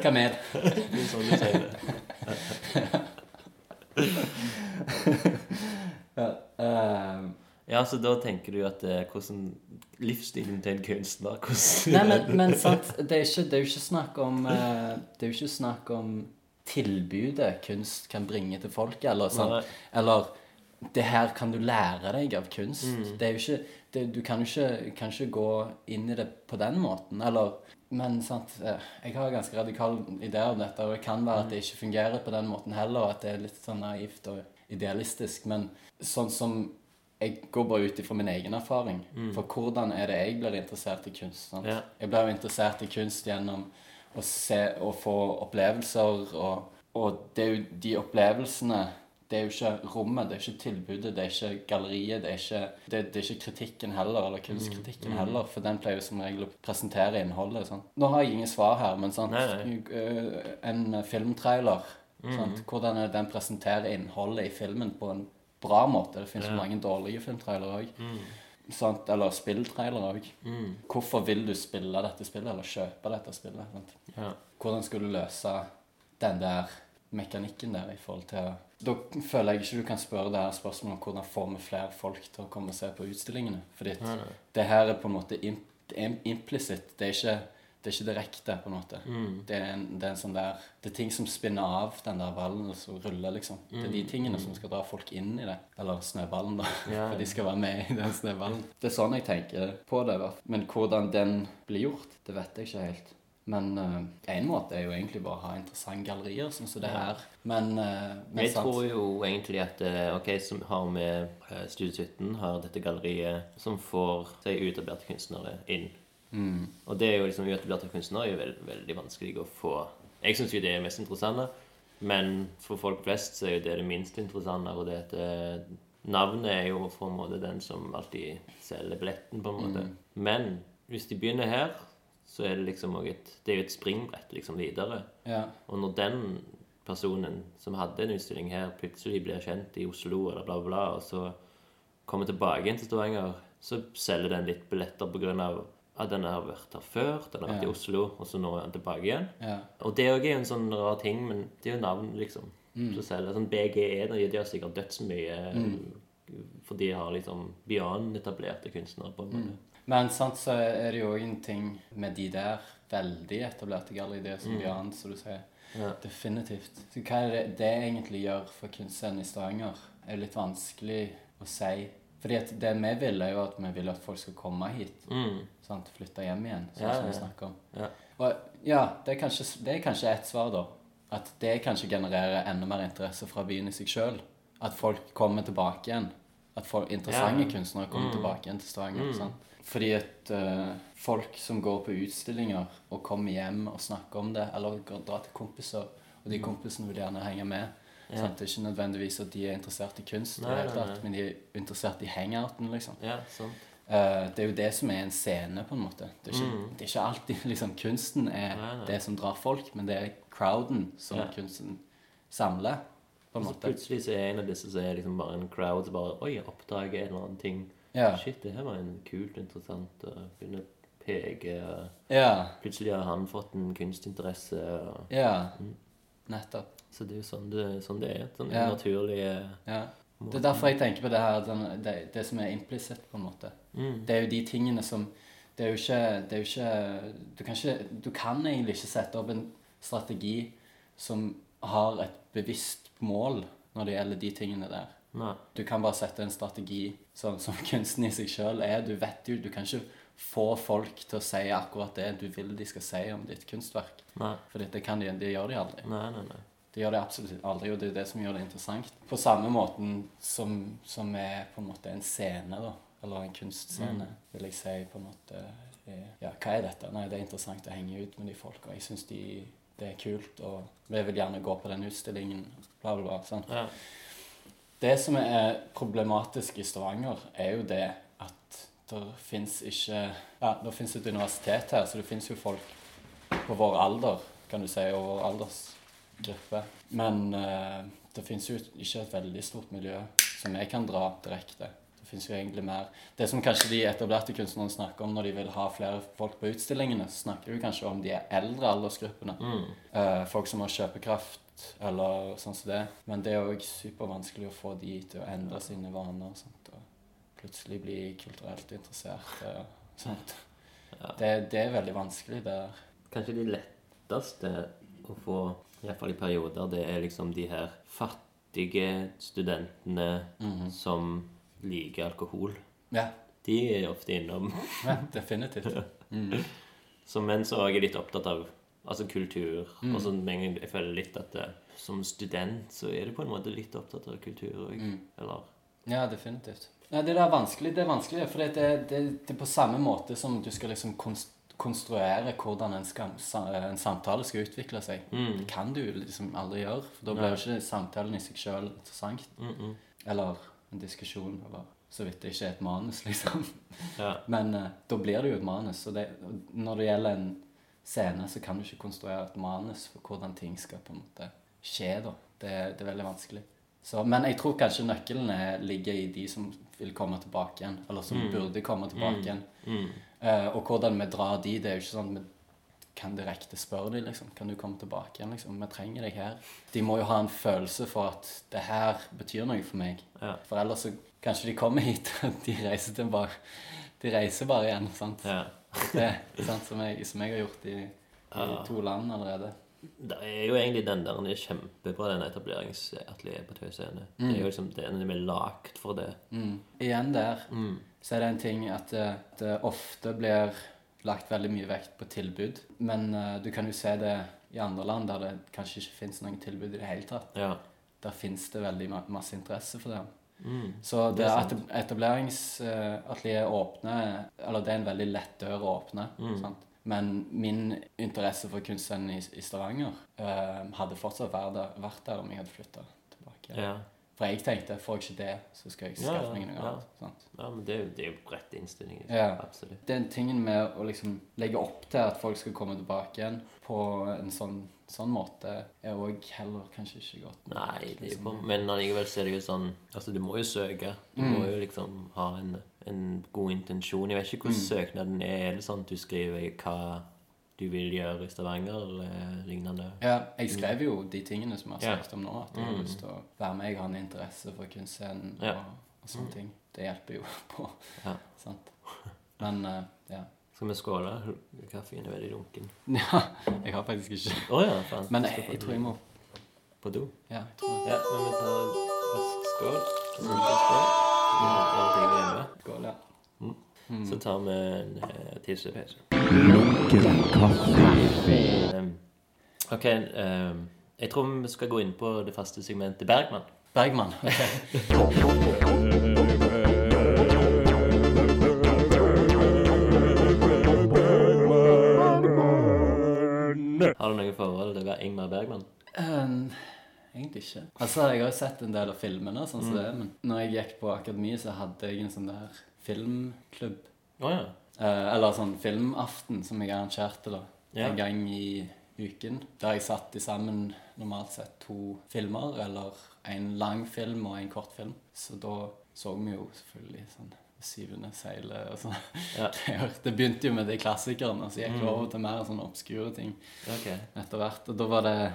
kamel.
Det er sånn du sier det.
Ja, eh,
Ja, så da tenker du at eh, hvordan livsstilen til en kunstner hvordan,
nei, men, men sant, det er, ikke, det er jo ikke snakk om eh, Det er jo ikke snakk om tilbudet kunst kan bringe til folket, eller sånn.
Nei.
Eller det her kan du lære deg av kunst. Det er jo ikke det, Du kan jo ikke, kan ikke gå inn i det på den måten. Eller Men sant, eh, jeg har ganske radikale ideer om dette, og det kan være at det ikke fungerer på den måten heller, og at det er litt sånn naivt og idealistisk. Men sånn som jeg går bare ut ifra min egen erfaring. For hvordan er det jeg blir interessert i kunst? Sant?
Ja.
Jeg blir jo interessert i kunst gjennom å se og få opplevelser, og, og det er jo de opplevelsene Det er jo ikke rommet, det er ikke tilbudet, det er ikke galleriet, det er ikke, det, det er ikke kritikken heller, eller kunstkritikken
Mm,
heller, for den pleier jo som regel å presentere innholdet. Sant? Nå har jeg ingen svar her, men sant?
Nei, Mm,
eh, en filmtrailer sant? Hvordan er det den presenterer innholdet i filmen på en bra måte. Det finnes jo mange dårlige filmtrailere òg.
Mm.
Sant? Eller spilltrailere òg. Hvorfor vil du spille dette spillet, eller kjøpe dette spillet? Sant?
Ja.
Hvordan skal du løse den der mekanikken der i forhold til Da føler jeg ikke du kan spørre det her spørsmålet om hvordan får vi flere folk til å komme og se på utstillingene. Fordi at det her er på en måte im- im- implisitt. Det er ikke det er ikke direkte, på en måte.
Mm.
Det, er en, det er en sånn der Det er ting som spinner av den der ballen som ruller, liksom. Det er de tingene som skal dra folk inn i det. Eller snøballen, da.
Mm. Ja,
For
ja.
de skal være med i den snøballen. Det er sånn jeg tenker på det. i hvert fall. Men hvordan den blir gjort, det vet jeg ikke helt. Men én måte er jo egentlig bare å ha interessante gallerier, sånn som det her. Men, eh, men
Jeg tror jo egentlig at eh, OK, som har med eh, Studio 17, har dette galleriet som får seg utarbeidet kunstnere inn. Og det er jo liksom utarbeidet kunstnere er jo veld, veldig vanskelig å få Jeg syns jo det er mest interessante, men for folk flest så er jo det det minst interessante. Og det at eh, navnet er jo på en måte den som alltid selger billetten, på en måte. Men hvis de begynner her, så er det liksom også et Det er jo et springbrett liksom videre.
Ja.
Og når den personen som hadde en utstilling her, plutselig blir kjent i Oslo, eller bla, bla, bla, og så kommer tilbake igjen til Stavanger, så selger den litt billetter pga. at den har vært her før, den har vært
Ja.
i Oslo, og så nå er den tilbake igjen.
ja.
Og det òg er jo en sånn rar ting, men det er jo navn, liksom.
Mm.
Så selger sånn BGE de, de har sikkert dødsmye
Mm.
For de har liksom beyond etablerte kunstnere, på en måte.
Men sant, så er det jo òg en ting med de der veldig etablerte galleriene
Mm.
som Bjørn, som du sier.
Ja.
Definitivt. Så hva er det det egentlig gjør for kunstscenen i Stavanger, er litt vanskelig å si. Fordi at det vi vil, er jo at vi vil at folk skal komme hit.
Mm.
Sant? Flytte hjem igjen, sånn
Ja,
som vi
ja, ja.
snakker om.
Ja.
Og ja, det er, kanskje, det er kanskje et svar, da. At det kanskje genererer enda mer interesse fra byen i seg sjøl. At folk kommer tilbake igjen. At folk, interessante
Ja. Mm.
kunstnere kommer tilbake igjen til Stavanger. Sant? Fordi at eh, folk som går på utstillinger og kommer hjem og snakker om det, eller går, drar til kompiser, og
Mm.
de kompisene vil gjerne henge med sant? Det er ikke nødvendigvis at de er interessert i kunst, i det
Nei,
hele
nei,
tatt, men de er interessert i hangouten, liksom.
Ja, sant.
Eh, det er jo det som er en scene, på en måte. Det er ikke, det er ikke alltid liksom, kunsten er
Mm. Nei, nei.
det som drar folk, men det er crowden som
Ja.
kunsten samler, på en
Og så
måte.
plutselig så er en av disse så er liksom bare en crowd som bare Oi, jeg oppdager en eller annen ting.
Ja.
Shit, det her var en kult, interessant og Begynner å peke og
Ja,
Plutselig har han fått en kunstinteresse. Og...
ja. Nettopp.
Så det er jo sånn det, sånn det er. Sånn
Ja.
naturlig
Ja. Det er derfor jeg tenker på det her, den, det, det som er implisitt, på en måte.
Mm.
Det er jo de tingene som Det er jo ikke, det er jo ikke, du, kan ikke du kan egentlig ikke sette opp en strategi som har et bevisst mål når det gjelder de tingene der.
Nei.
Du kan bare sette en strategi sånn som kunsten i seg sjøl er. Du vet jo, du kan ikke få folk til å si akkurat det du vil de skal si om ditt kunstverk.
Nei.
For det kan de, det gjør de aldri.
Nei, nei, nei.
Det gjør det absolutt aldri, og det er det som gjør det interessant. På samme måten som, som er på en måte en scene, da. Eller en kunstscene, vil jeg si på en måte er, Ja, hva er dette? Nei, det er interessant å henge ut med de folka. Jeg syns de, det er kult, og jeg vil gjerne gå på den utstillingen, bla, bla, bla. sant?
Ja.
Det som er problematisk i Stavanger, er jo det at det fins ikke Ja, det fins et universitet her, så det fins jo folk på vår alder, kan du si, og vår aldersgruppe. Men eh, det fins jo ikke et veldig stort miljø som jeg kan dra direkte. Det finnes jo egentlig mer Det som kanskje de etablerte kunstnerne snakker om når de vil ha flere folk på utstillingene, så snakker de jo kanskje om de eldre aldersgruppene. Eh, folk som har kjøpekraft eller sånn som det. Men det er òg supervanskelig å få de til å endre sine vaner og sånt. Og plutselig bli kulturelt interessert og sånt. Det, det er veldig vanskelig der.
Kanskje de letteste å få, iallfall i perioder, det er liksom de her
Mhm.
fattige studentene som liker alkohol.
Ja.
De er ofte innom.
Ja, definitivt.
Så, men så er jeg litt opptatt av altså kultur. Og så med en gang jeg føler litt at det, som student så er du på en måte litt opptatt av kultur òg. Eller
Ja, definitivt. Nei, det der er vanskelig, det er vanskelig, for det, det, det, det er på samme måte som du skal liksom konst, konstruere hvordan en, skam- sa, en samtale skal utvikle seg. Det kan du liksom aldri gjøre, for da blir jo ikke samtalen i seg sjøl interessant. Eller en diskusjon, eller så vidt det ikke er et manus, liksom.
Ja.
Men eh, da blir det jo et manus. Og det, og når det gjelder en scene, så kan du ikke konstruere et manus for hvordan ting skal på en måte skje. da. Det, det er veldig vanskelig. Så, men jeg tror kanskje nøkkelen er- ligger i de som vil komme tilbake igjen. Eller som burde komme tilbake igjen. Eh, og hvordan vi drar de, det er jo ikke sånn at vi kan direkte spørre de, liksom. Kan du komme tilbake igjen, liksom? Vi trenger deg her. De må jo ha en følelse for at det her betyr noe for meg.
Ja.
For ellers så kanskje de kommer hit, og de reiser tilbake. De reiser bare igjen, sant?
ja.
Det, sant? Som, jeg, som jeg har gjort i, i to land allerede.
Det er jo egentlig den der den er kjempebra, den etableringsatelieret på Tøy Scene. Det er jo liksom det, den er lagd for det.
Mm. Igjen der
Mm.
så er det en ting at det, det ofte blir lagt veldig mye vekt på tilbud. Men eh, du kan jo se det i andre land der det kanskje ikke fins noen tilbud i det hele tatt.
Ja.
der finnes det veldig ma- masse interesse for det.
Mm.
så det, at etableringsatelier åpner Eller det er en veldig lett dør å åpne.
Mm.
Sant? Men min interesse for kunstscenen i, i Stavanger eh, hadde fortsatt vært der, vært der om jeg hadde flytta tilbake.
ja.
For jeg tenkte får jeg ikke det, så skal jeg
Ja,
skaffe
ja,
meg noe
ja.
annet. Sant?
Ja, men det er jo, det er jo rett innstilling. liksom.
Ja.
Absolutt.
Den tingen med å liksom legge opp til at folk skal komme tilbake igjen på en sånn, sånn måte, er òg heller kanskje ikke godt.
Nei, det er jo på, men allikevel ser det jo sånn Altså, du må jo søke. Du
Mm.
må jo liksom ha en, en god intensjon. Jeg vet ikke hvordan
Mm.
søknaden er. Er det sånn at du skriver hva du vil gjøre i Stavanger, eller lignende?
Ja, jeg skrev jo de tingene som jeg har
Mm. Ja. Mm.
snakket om nå. At jeg har lyst til å være med, jeg har en interesse for kunstscenen
Ja. Mm.
og, og sånne ting. Det hjelper jo på.
Ja.
Sant? Men eh, ja.
Skal vi skåle? Kaffen er veldig lunken.
ja. Jeg har faktisk ikke
Å ja, faen.
Men
skal
jeg,
på
jeg
do.
tror jeg må
På do?
Ja, jeg tror jeg
Ja, men vi tar en rask skål. og så en skål. Vi må ha alt jeg glemmer.
går, ja. Mm.
Så tar vi en eh, tissepause.
Lunken kaffe.
Ehm, ok, ehm, jeg tror vi skal gå inn på det faste segmentet Bergman.
Bergman. ok.
Mm. Har du noe forhold til å være Ingmar Bergman?
Um, egentlig ikke. Altså, jeg har jo sett en del av filmene,
Mm.
sånn som det er, men når jeg gikk på akademi, så hadde jeg en sånn der filmklubb.
Å ja.
Eh, eller sånn filmaften som jeg arrangerte da,
Ja.
en gang i uken. Der jeg satt i sammen normalt sett to filmer, eller en lang film og en kort film. Så da så vi jo selvfølgelig sånn syvende seilet og sånn.
Ja. Mm.
Det hørte- Det begynte jo med de klassikerne, og så gikk det over til mer sånn obskure ting
Ok.
etter hvert. Og da var det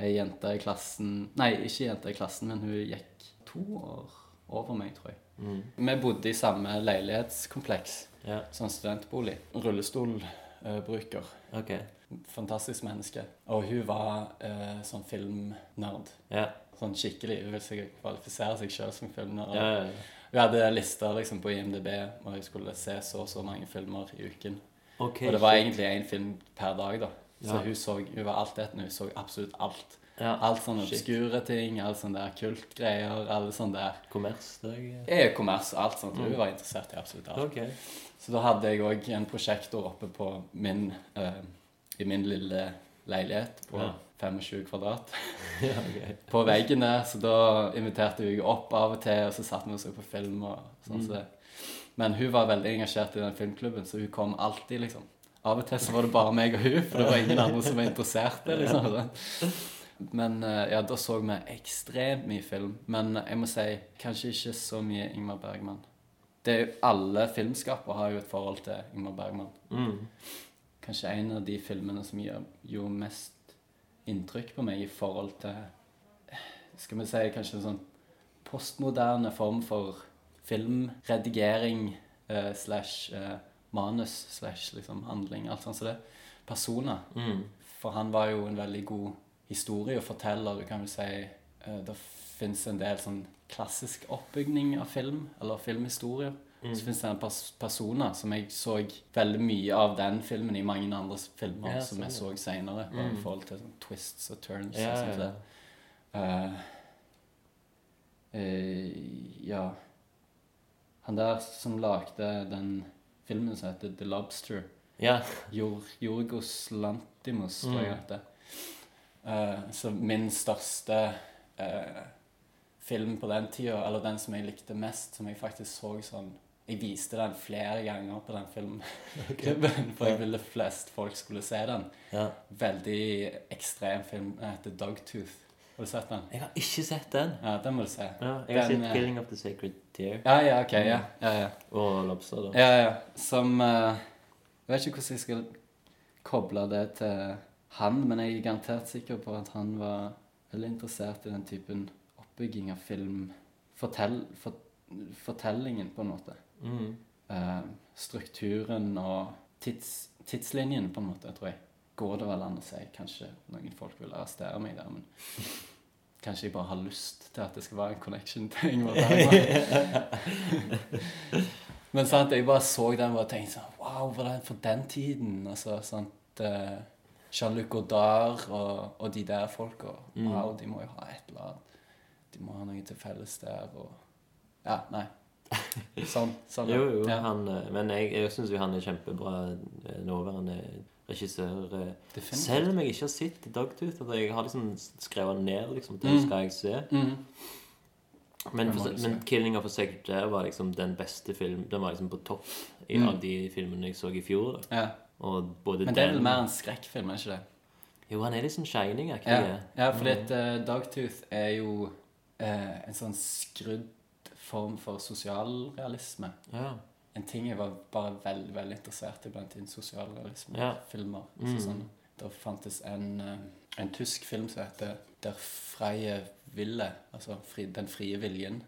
ei jente i klassen Nei, ikke jente i klassen, men hun gikk to år over meg, tror jeg.
Mm.
Vi bodde i samme leilighetskompleks,
Ja.
sånn studentbolig. Rullestolbruker.
Ok.
Fantastisk menneske. Og hun var eh, sånn filmnerd.
Ja.
Sånn skikkelig. Hun ville sikkert kvalifisere seg sjøl som filmnerd.
Ja, ja, ja.
Hun hadde lister liksom, på IMDb, og jeg skulle se så og så mange filmer i uken.
Ok.
Og det var egentlig én film per dag, da. Så
Ja.
hun, så, hun var altetende. Hun så absolutt alt.
Ja.
Alt sånne
Shit.
obskure ting, alt sånne der kultgreier, alle sånne der
Kommersdag. ja.
E-kommers og alt
Mm.
sånt. Hun var interessert i absolutt alt.
Ok.
Så da hadde jeg òg en prosjektor oppe på min, eh, i min lille leilighet på
Ja.
25 kvadrat.
Ja, ok.
På veggen der, så da inviterte hun opp av og til, og så satt vi og så på film. og sånn så det. Men hun var veldig engasjert i den filmklubben, så hun kom alltid, liksom. Av og til så var det bare meg og hun, for det var ingen andre som var interessert. liksom. sånn. Men eh, ja, da så vi ekstremt mye film. Men jeg må si kanskje ikke så mye Ingmar Bergman. Det er jo, Alle filmskapere har jo et forhold til Ingmar Bergman.
Mm,
Kanskje en av de filmene som gjør jo mest inntrykk på meg i forhold til Skal vi si kanskje en sånn postmoderne form for filmredigering eh, slash eh, manus slash liksom handling, alt sånt som det. Personer.
mm,
For han var jo en veldig god historieforteller, du kan vel si. eh, det fins en del sånn klassisk oppbygning av film, eller filmhistorier.
mm.
Så fins det en pers personer som jeg så veldig mye av den filmen i mange andre s- filmer
Ja, Mm.
som jeg så seinere, i forhold til sånn twists og sånn turns
Ja,
og sånt.
ja, ja.
der. Eh, eh, ja Han der som lagde den filmen som heter The Lobster
Ja.
Jor, Jorgos Lantimos, tror
Mm.
jeg det heter. så min største eh, film på den tida, eller den som jeg likte mest, som jeg faktisk så sånn Jeg viste den flere ganger på den filmklubben, for jeg ville flest folk skulle se den.
ja.
Veldig ekstrem film. Den heter Dogtooth. Har du sett den?
Jeg har ikke sett den.
Ja, den må du se.
Ja, jeg har
Den,
sett
eh,
'Killing of the Sacred Tear'
Ja, ja, ok. Ja, ja, ja.
og 'Lobster'. da.
Ja, ja. Som eh, Jeg vet ikke hvordan jeg skal koble det til han, men jeg er garantert sikker på at han var veldig interessert i den typen oppbygging av film. Fortell, fort- fortellingen, på en måte.
Mm.
Eh, strukturen og tids, tidslinjen, på en måte, tror jeg. Går det vel an å si? Kanskje noen folk vil arrestere meg der, men kanskje jeg bare har lyst til at det skal være en connection til Ingvar Bergman. men sant, jeg bare så den og bare tenkte sånn Wow, var det for den tiden? Altså, sant eh, Jean-Luc Godard og, og de der folka. Wow, de må jo ha et eller annet. De må ha noe til felles der og Ja, nei. Sånn. sånn
Jo, jo.
Ja.
Han, eh, men jeg, jeg syns jo han er kjempebra eh, nåværende regissør. eh.
Definitivt.
Selv om jeg ikke har sett 'Dogtooth', at jeg har liksom skrevet ned liksom,
Mm.
den skal jeg se.
Mhm.
Men,
Den må
for,
du se.
men 'Killing of a Secretary' var liksom den beste film Den var liksom på topp i,
Mm.
av de filmene jeg så i fjor. Da.
Ja.
Og både
Men det er vel
den
mer en skrekkfilm, er ikke det?
Jo, han er litt sånn Shining-aktig.
Ja, ja fordi at eh, Dogtooth er jo eh, en sånn skrudd form for sosialrealisme.
Ja.
En ting jeg var bare veldig veldig interessert i blant innen
Ja.
sosialrealismefilmer. Ja. Sånn, det fantes en, eh, en tysk film som heter Der freie ville, altså fri, Den frie viljen,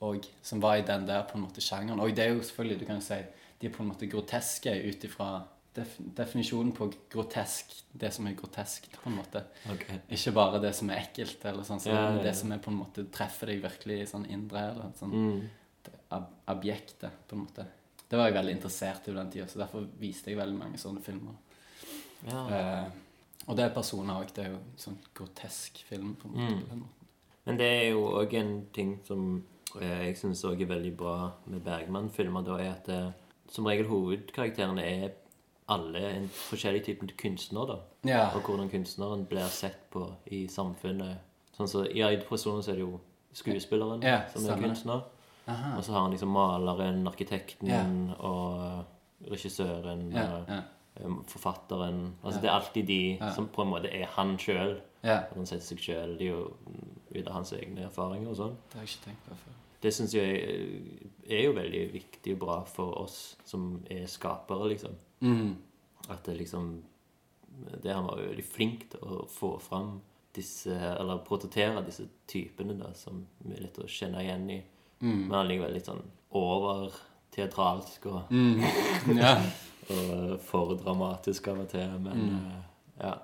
og, som var i den der på en måte sjangeren. Og det er jo selvfølgelig, du kan jo si, de er på en måte groteske ut ifra def, definisjonen på grotesk, det som er grotesk, på en måte.
Ok.
Ikke bare det som er ekkelt, eller sånn, sånn,
Ja, ja, ja.
men det som er på en måte treffer deg virkelig i sånn indre. eller sånn
Mm.
det ab objektet, på en måte. Det var jeg veldig interessert i på den tida, så derfor viste jeg veldig mange sånne filmer.
Ja.
Eh, og det er personer òg. Det er jo sånn grotesk film. på en
Mm.
måte. på den måten.
Men det er jo òg en ting som eh, jeg syns òg er veldig bra med Bergman-filmer, da er at eh, som regel hovedkarakterene er alle en forskjellig type kunstner, da.
Ja.
Og hvordan kunstneren blir sett på i samfunnet. Sånn så, I Eidpersonen så er det jo skuespilleren
Ja,
som er
stemmer.
kunstner.
Aha.
Og så har han liksom maleren, arkitekten
Ja.
og regissøren
Ja,
og
ja,
eh, forfatteren. Altså
Ja.
det er alltid de
Ja.
som på en måte er han sjøl.
ja.
At han setter seg sjøl ut av hans egne erfaringer og sånn.
Det har jeg ikke tenkt på før.
Det syns jeg eh, er jo veldig viktig og bra for oss som er skapere, liksom.
Mm.
At det liksom det Han var jo veldig flink til å få fram disse Eller portrettere disse typene da, som vi er lett å kjenne igjen i. Men han ligger veldig sånn overteatralsk og,
Ja.
og eh, for dramatisk av og til. Men eh, ja.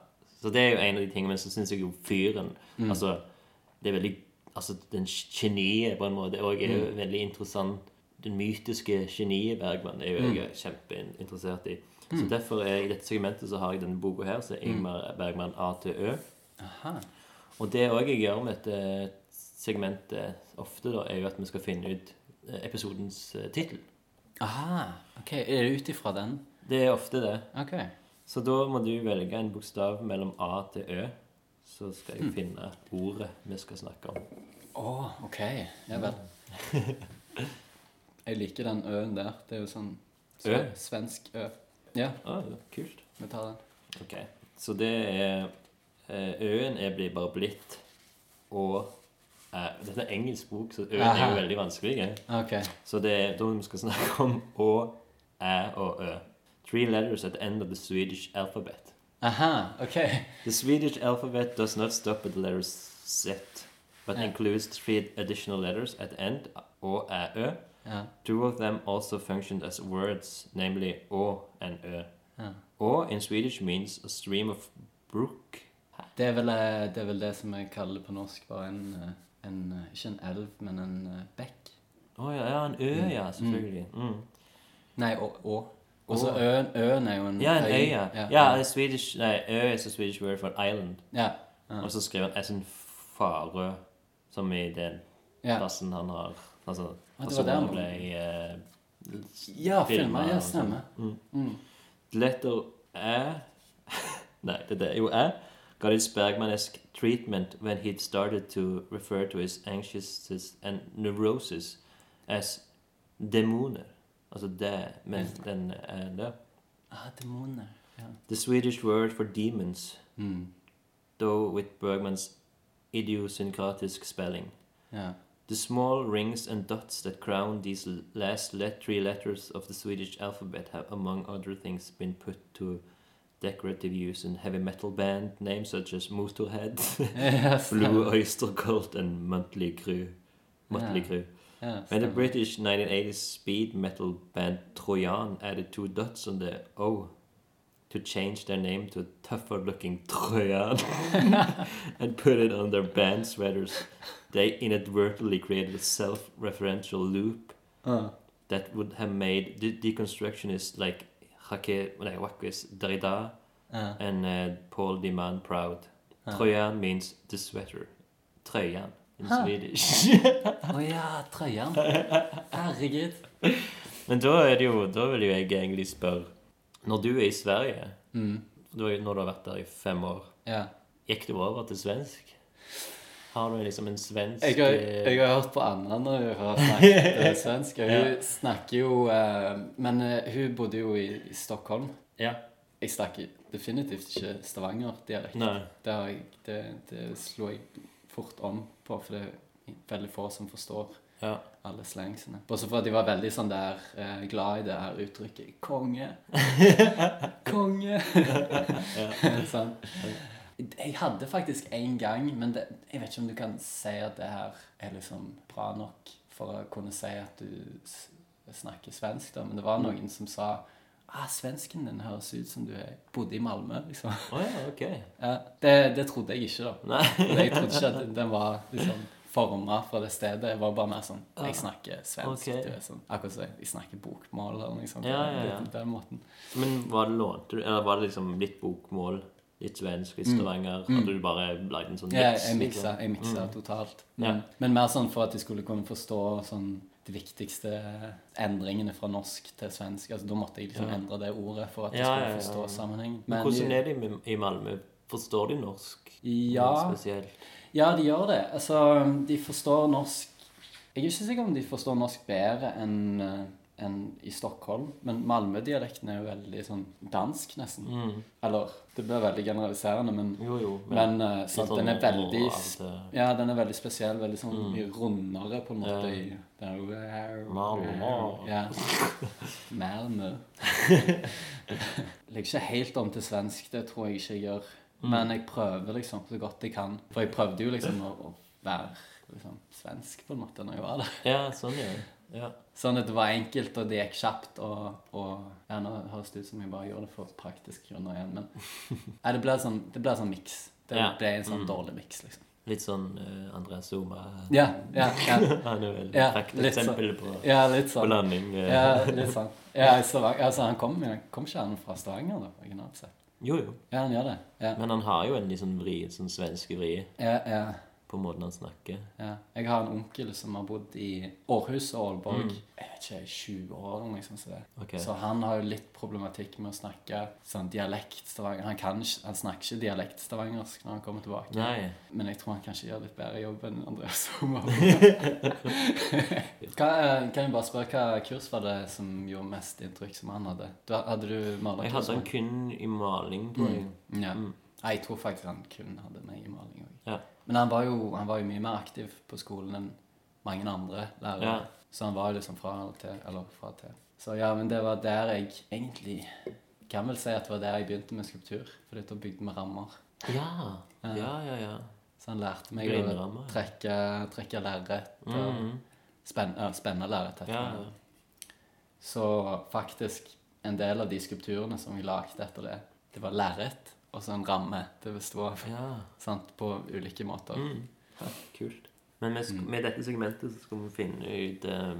Så det er jo en av de tingene. Men så syns jeg jo fyren Altså, det er veldig Altså, den geniet på en måte òg er jo veldig interessant. Den mytiske geniet Bergman er jo jeg kjempeinteressert i. Så derfor er i dette segmentet så har jeg denne boka her, som er Ingmar Bergman A til Ø.
Aha.
Og det òg jeg gjør med dette segmentet ofte, da, er jo at vi skal finne ut eh, episodens eh, tittel.
Aha. OK. Er det ut ifra den?
Det er ofte det.
OK.
Så da må du velge en bokstav mellom A til Ø. Så skal jeg finne ordet vi skal snakke om.
Å, OK. Ja vel. Jeg liker den ø-en der. Det er jo sånn sve
Ø?
svensk ø. Ja,
Ah, kult.
vi tar den.
Ok. Så det er eh, Øen er blir bare blitt og eh, Dette er engelsk bok, så øen er
Aha.
jo veldig vanskelig. eh.
Ah, OK.
Så det er da vi skal snakke om Å, Æ og Ø. Three letters at the end of the Swedish alphabet.
Aha. OK.
The Swedish alphabet does not stop at the letter Z, but
Yeah.
includes three additional letters at the end, Å, Æ, Ø.
Ja.
Two of them also functioned as words, namely Å and Ø.
Ja.
Å in Swedish means a stream of brook.
Det er, vel, eh, det er vel det som jeg kaller på norsk bare en, eh, en eh, Ikke en elv, men en eh, bekk.
Å ja, ja, en ø, ja. Selvfølgelig. Mm.
Nei, å. å. Og så øen, øen er jo en
Ja, en øy, ja.
Ja.
Ja, en Swedish, nei, ø er så Swedish word for an island.
ja.
Og så skriver han Essen Farø, som i den
Ja.
plassen han har Altså,
var der
personen
han-
ble eh,
Ja, filmer.
Filmer
Ja,
og sånn.
stemmer.
Letter æ Nei, det er det. Jo, æ got his Bergmanesque treatment when he started to refer to his anxieties and neuroses as demoner. Altså det, men den er æ der.
Ah, demoner. Ja.
The Swedish word for demons,
Mm.
though with Bergman's idiosyncratic spelling.
ja.
The small rings and dots that crown these l- last let three letters of the Swedish alphabet have, among other things, been put to decorative use in heavy metal band names such as Motorhead,
Ja,
Blue
stemmer.
Oyster Cult, and Mötley Crüe. Mötley
Yeah.
Crüe.
Ja,
When the
stemmer.
British 1980s speed metal band Trojan added two dots on the O to change their name to tougher looking Trojan and put it on their band sweaters, they inadvertently created a self referential loop
Ah.
that would have made de- deconstructionists like Hake, like Wakis Derrida
Ja.
and uh, Paul Diman proud.
Ah.
Trojan means the sweater. Trojan in
Huh.
Swedish.
Å ja, trøyeren. Herregud.
Men da er det jo, da vil jo jeg egentlig spørre Når du er i Sverige,
Mm.
da er- når du har vært der i fem år,
Ja.
gikk du over til svensk? Har du liksom en svensk
Jeg har,
eh,
jeg har hørt på Anna når hun har snakket eh, svensk. og Hun snakker jo eh, Men eh, hun bodde jo i, i Stockholm.
Ja.
Jeg snakker definitivt ikke Stavanger-dialekt.
Nei.
Det, har jeg- det, det slo jeg fort om på, for det er veldig få som forstår
ja.
alle slangsene. Bortsett fra at de var veldig sånn der eh, glad i det her uttrykket 'konge'. Konge! sånn. Jeg hadde faktisk en gang, men det, jeg vet ikke om du kan si at det her er liksom bra nok for å kunne si at du s- snakker svensk, da. Men det var noen som sa ah, 'Svensken din høres ut som du er- bodde i Malmö', liksom.
Å ja, ok.
Ja, det, det trodde jeg ikke, da.
Nei.
Jeg trodde ikke at den var liksom forma fra det stedet. Jeg var bare mer sånn Jeg snakker svensk.
Ok.
Du vet, sånn. Akkurat som jeg snakker bokmål eller noe sånt.
Ja, ja, ja.
Litt på Den måten.
Men var det lånte du, eller var det liksom litt bokmål, litt svensk, litt Stavanger? Hadde du bare lagd en sånn
Mm. Ja,
mix? Mm.
jeg miksa, jeg miksa totalt. Men,
Ja.
men mer sånn for at jeg skulle kunne forstå sånn de viktigste endringene fra norsk til svensk. Altså, da måtte jeg liksom endre det ordet for at jeg
Ja,
skulle
ja, ja,
forstå
ja.
sammenheng.
Men hvordan er det i- i Malmö? Forstår de norsk?
Ja.
Noe Spesielt.
Ja, de gjør det. Altså, de forstår norsk Jeg er ikke sikker om de forstår norsk bedre enn eh, enn i Stockholm, men Malmö-dialekten er jo veldig sånn dansk, nesten. Eller det blir veldig generaliserende, men,
Jo, jo.
men eh, sant,
sånn
den er veldig
og
sp-
alt det. Mm.
ja, den er veldig spesiell, veldig sånn mye rundere på en måte.
Ja.
i- Den er jo
Malmö.
Ja. Malmö. Legger ikke helt om til svensk, det tror jeg ikke jeg gjør.
Mm.
Men jeg prøver liksom så godt jeg kan. For jeg prøvde jo liksom å, å være liksom, svensk på en måte når jeg var der.
Ja, sånn, ja. ja.
Sånn at det var enkelt, og det gikk kjapt, og, og ja, Nå høres det ut som jeg bare gjør det for praktiske grunner igjen, men Nei, det ble sånn, det ble sånn miks. Det
Ja.
ble en sånn dårlig miks, liksom.
Litt sånn eh, Andreas Zuma.
Ja, ja, ja.
Han er vel
Ja,
et
litt
eksempel på,
ja litt
på
sånn.
landing. eh.
Ja, litt sånn. Ja, i Stavanger, altså, han kom, jo- kom ikke han fra Stavanger, da? originalt sett?
Jo, jo.
Ja, han gjør det. Ja,
Men han har jo en litt sånn vri, sånn svenske vri
ja, ja,
på måten han snakker.
ja. Jeg har en onkel som har bodd i Århus og Aalborg jeg vet ikke, i 20 år. eller noe sånt som det.
Ok.
Så han har jo litt problematikk med å snakke sånn dialektstavanger. Han, kan ikke, han snakker ikke dialektstavangersk når han kommer tilbake.
Nei.
Men jeg tror han kanskje gjør litt bedre jobb enn Andreas Sommer. kan, eh, kan jeg bare spørre hva kurs var det som gjorde mest inntrykk som han hadde? Du, hadde du
Jeg
malerkurs?
hadde han kun i maling, tror jeg.
med? Ja. Nei, Jeg tror faktisk han kun hadde meg i maling òg.
Mm. Ja.
Men han var, jo, han var jo mye mer aktiv på skolen enn mange andre lærere.
Ja.
Så han var jo liksom fra og til. Eller fra og til. Så ja, men det var der jeg egentlig kan vel si at det var der jeg begynte med skulptur. Fordi da bygde vi rammer.
Ja, ja, ja. ja.
Så han lærte meg å
Grindrammer, ja.
trekke, trekke lerret og
Mm,
spen, ja, spenne lerret. etter
ja.
hverandre. Så faktisk en del av de skulpturene som vi lagde etter det, det var lerret og så en ramme det besto av.
ja. Mm.
Sant? På ulike måter.
ja. Kult. Men vi
Mm.
sk med dette segmentet så skal vi finne ut eh,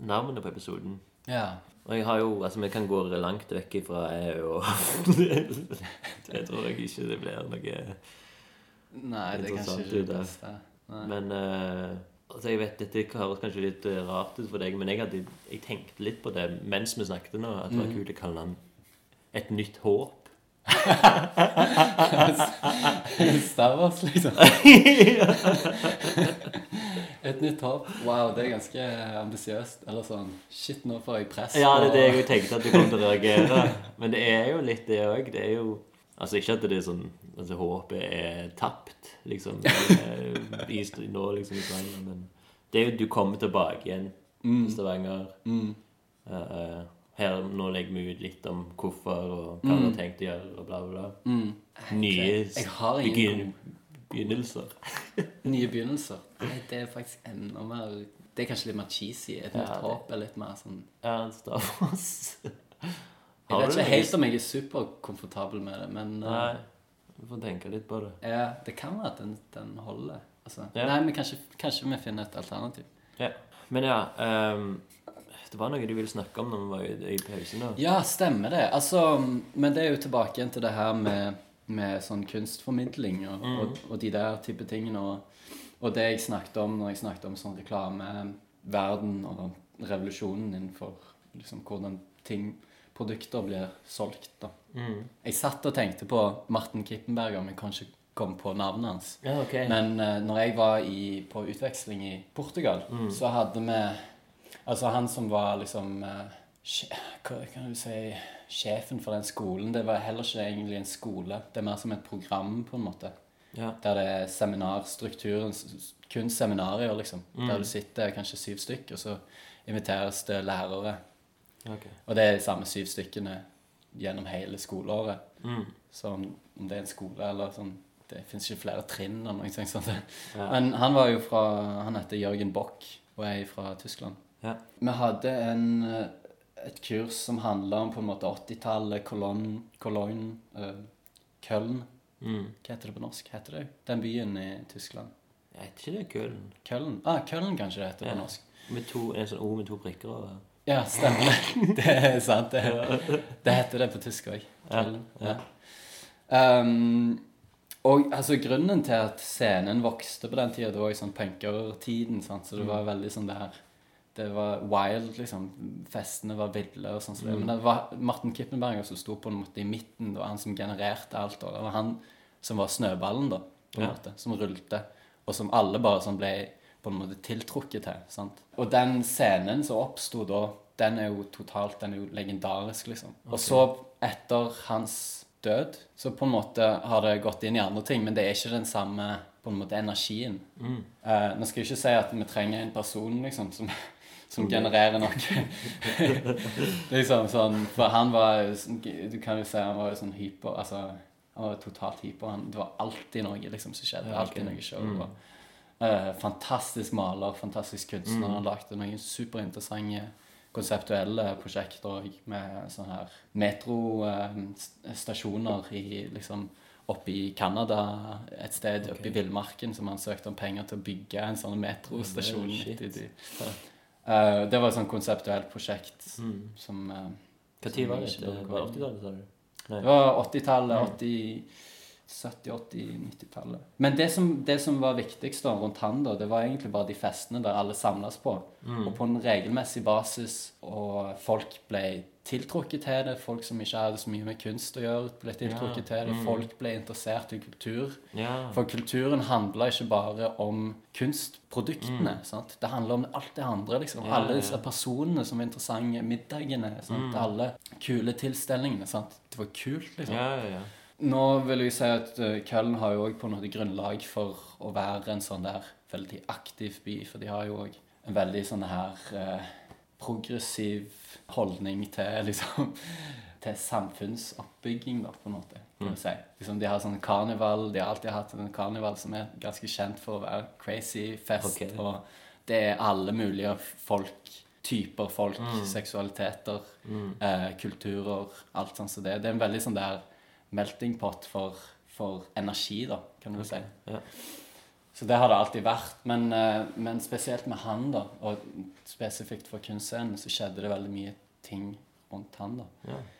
navnet på episoden.
Ja.
Og jeg har jo, altså Vi kan gå langt vekk ifra æ og Det tror jeg ikke det blir noe
Nei, det er kanskje
Interessant
ikke
idé.
det beste. Nei.
Men eh, altså jeg vet, Dette høres kanskje litt eh, rart ut for deg, men jeg, hadde, jeg tenkte litt på det mens vi snakket nå. At det var kult å kalle den Et nytt håp.
Star Wars, liksom. Et nytt håp. Wow, det er ganske eh, ambisiøst. Eller sånn Shit, nå får jeg press.
Ja, det er det
på-
jeg tenkte at du kom til å reagere. Men det er jo litt det òg. Det er jo Altså Ikke at det er sånn Altså Håpet er tapt, liksom, eh, i, st- nå, liksom, i Stavanger, men det er jo du kommer tilbake igjen
Mm.
til Stavanger. Eh, her, nå legger vi ut litt om hvorfor og hva vi har tenkt å gjøre, og bla, bla, bla. Nye
Mm. Jeg har ingen
begyn begynnelser.
Nye begynnelser. Nei, det er faktisk enda mer Det er kanskje litt mer cheesy. Et nytt
det-
håp er litt mer sånn
Ja, Star Wars.
Jeg
Har
vet
du
ikke
noe-
helt om jeg er superkomfortabel med det, men
Nei, du får tenke litt på det.
eh, ja, det kan være at den, den holder. Altså,
Ja.
Nei, men kanskje, kanskje vi finner et alternativ.
Ja. Men ja ehm, Det var noe du ville snakke om når vi var i, i pausen. da
Ja, stemmer det. Altså, men det er jo tilbake igjen til det her med, med sånn kunstformidling og, og, og de der type tingene. Og, og det jeg snakket om når jeg snakket om sånn reklameverden og revolusjonen innenfor liksom, hvordan ting, produkter blir solgt. da. Jeg satt og tenkte på Martin Kippenberger, men kan ikke komme på navnet hans.
Ja, ok.
Men eh, når jeg var i, på utveksling i Portugal, så hadde vi Altså han som var liksom eh, sje- Hva kan du si Sjefen for den skolen. Det var heller ikke egentlig en skole. Det er mer som et program, på en måte.
Ja.
Der det er seminarstrukturen s- s- Kun seminarier, liksom. Der du sitter kanskje syv stykk, og så inviteres det lærere.
ok.
Og det er de samme syv stykkene gjennom hele skoleåret.
Mm.
Så om, om det er en skole eller sånn Det fins ikke flere trinn eller noe sånt.
Ja.
Men han var jo fra Han heter Jørgen Bock og er fra Tyskland.
Ja.
Vi hadde en, eh, et kurs som handla om på en måte 80-tallet, Cologne, Cologne eh, Köln
Mm.
Hva heter det på norsk? Heter det Den byen i Tyskland.
Jeg vet ikke det er kul.
Köln? Ah, Köln kanskje det heter
Ja.
på norsk.
Med to, en sånn O med to prikker over.
Ja, stemmer det. Det er sant. Det, det heter det på tysk òg. Ja. Um, og altså, grunnen til at scenen vokste på den tida, det var i sånn punkertiden, sant, så det var veldig sånn det her Det var wild, liksom. Festene var ville og sånn. som det. Men det var Martin Kippenberger som sto på en måte i midten, da, han som genererte alt. Og det var han som var snøballen, da, på en
Ja.
måte, som rullte. Og som alle bare sånn ble på en måte tiltrukket til. sant? Og den scenen som oppsto da, den er jo totalt den er jo legendarisk, liksom. Og så, etter hans død, så på en måte har det gått inn i andre ting, men det er ikke den samme på en måte energien.
Mm.
Eh, nå skal jeg ikke si at vi trenger en person liksom, som, som genererer noe. liksom sånn, For han var jo sånn- Du kan jo si han var jo sånn hyper. altså han var jo totalt hyper. Han, det var alltid noe liksom som skjedde.
Ja, ok. Mm.
Alltid noe show. og, eh, fantastisk maler, fantastisk kunstner.
Mm.
Han lagde noen superinteressante konseptuelle prosjekter og med sånne her metrostasjoner i liksom Oppe i Canada et sted, oppe i villmarken, som han søkte om penger til å bygge en sånn metrostasjon.
Ja, shit. Mm.
midt i de. Eh, det var et sånt konseptuelt prosjekt som eh,
Hva
Som
tid var
jeg
det?
ikke
Det
burde gå
var
inn.
80-tallet, sa du?
Det var 80-tallet, 80 70-, 80-, 90-tallet. Men det som, det som var viktigst da, rundt han, da, det var egentlig bare de festene der alle samles på. Og på en regelmessig basis, og folk ble tiltrukket til det. Folk som ikke hadde så mye med kunst å gjøre, ble tiltrukket til det. Folk ble interessert i kultur.
Ja.
For kulturen handler ikke bare om kunstproduktene. sant? Det handler om alt det andre. liksom.
Mm. Ja,
alle
ja. Mm.
disse personene som er interessante, middagene, sant? alle kule tilstelningene. sant? Det var kult, liksom.
ja, ja, ja.
Nå vil jeg si at eh, Köln har jo òg på en måte grunnlag for å være en sånn der veldig aktiv by, for de har jo òg en veldig sånn her eh, progressiv holdning til liksom til samfunnsoppbygging, da, på en måte. kan du si. Liksom, de har sånn karneval, de har alltid hatt en karneval som er ganske kjent for å være crazy fest,
Ok.
og det er alle mulige folk, typer folk, seksualiteter, eh, kulturer, alt sånt som det. Det er en veldig sånn der melting pot for, for energi, da, kan du si.
ja.
Så det har det alltid vært. Men, eh, men spesielt med han, da, og spesifikt for kunstscenen, så skjedde det veldig mye ting rundt han. da.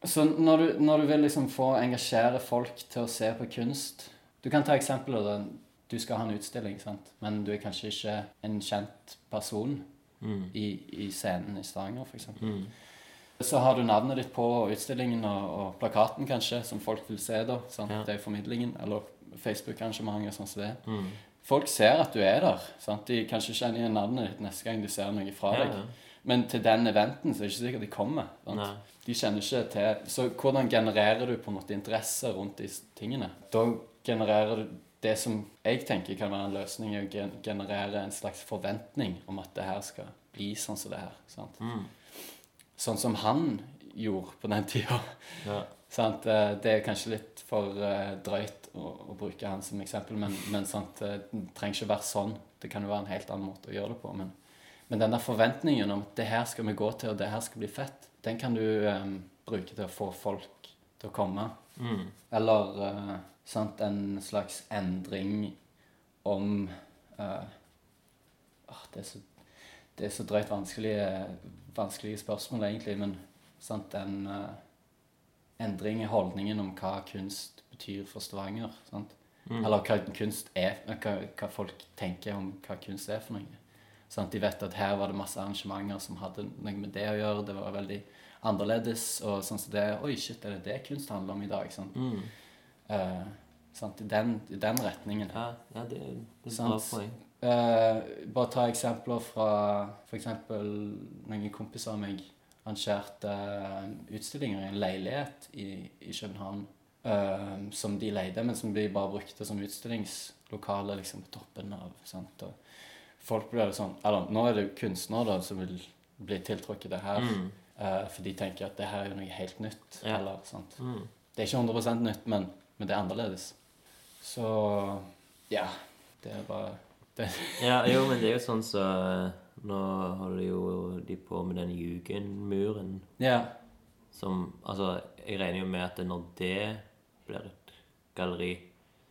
Så når du, når du vil liksom få engasjere folk til å se på kunst Du kan ta eksempler. da. Du skal ha en utstilling, sant? men du er kanskje ikke en kjent person
Mm.
i, i scenen i Stavanger, f.eks. Så har du navnet ditt på utstillingen og, og plakaten, kanskje, som folk vil se. da, sant? Det er formidlingen. Eller Facebook-arrangementer, sånn som det.
Mm.
Folk ser at du er der. sant? De kanskje kjenner igjen navnet ditt neste gang de ser noe fra
Ja,
deg.
ja.
Men til den eventen så er det ikke sikkert de kommer.
Nei.
Sant? De kjenner ikke til Så hvordan genererer du på en måte interesse rundt de tingene? Da genererer du det som jeg tenker kan være en løsning, er å gen- generere en slags forventning om at det her skal bli sånn som det her. sant?
Mm.
Sånn som han gjorde på den tida.
Ja.
Sant? Eh, Det er kanskje litt for eh, drøyt å, å bruke han som eksempel, men, men sant? eh, det trenger ikke være sånn. Det kan jo være en helt annen måte å gjøre det på. Men, men den der forventningen om at det her skal vi gå til, og det her skal bli fett, den kan du eh, bruke til å få folk til å komme. Eller eh, sant? en slags endring om eh, åh, det, er så, det er så drøyt vanskelige, vanskelige spørsmål, egentlig, men sant? den eh, endring i holdningen om hva kunst betyr for Stavanger. Sant? Eller hva kunst er, eh, hva, hva folk tenker om hva kunst er for noe. Sant? De vet at her var det masse arrangementer som hadde noe med det å gjøre. Det var veldig annerledes. Og sånn som det Oi, shit, er det det kunst handler om i dag? Sant?
Mm.
Eh, sant? I, den, I den retningen.
Ja, ja, det, det er et bra
Sant.
poeng.
Eh, bare ta eksempler fra f.eks. noen kompiser av meg arrangerte eh, utstillinger i en leilighet i, i København eh, som de leide, men som de bare brukte som utstillingslokale liksom, på toppen av. Sant? Og folk ble jo sånn Eller nå er det jo kunstnere da, som vil bli tiltrukket det her, eh, for de tenker at det her er jo noe helt nytt.
Ja.
Eller, sant? Det er ikke 100 nytt, men, men det er annerledes. Så ja. Det er bare det.
Ja, jo, men det er jo sånn så Nå holder jo de på med den Jugendmuren
Ja.
som Altså, jeg regner jo med at når det blir et galleri,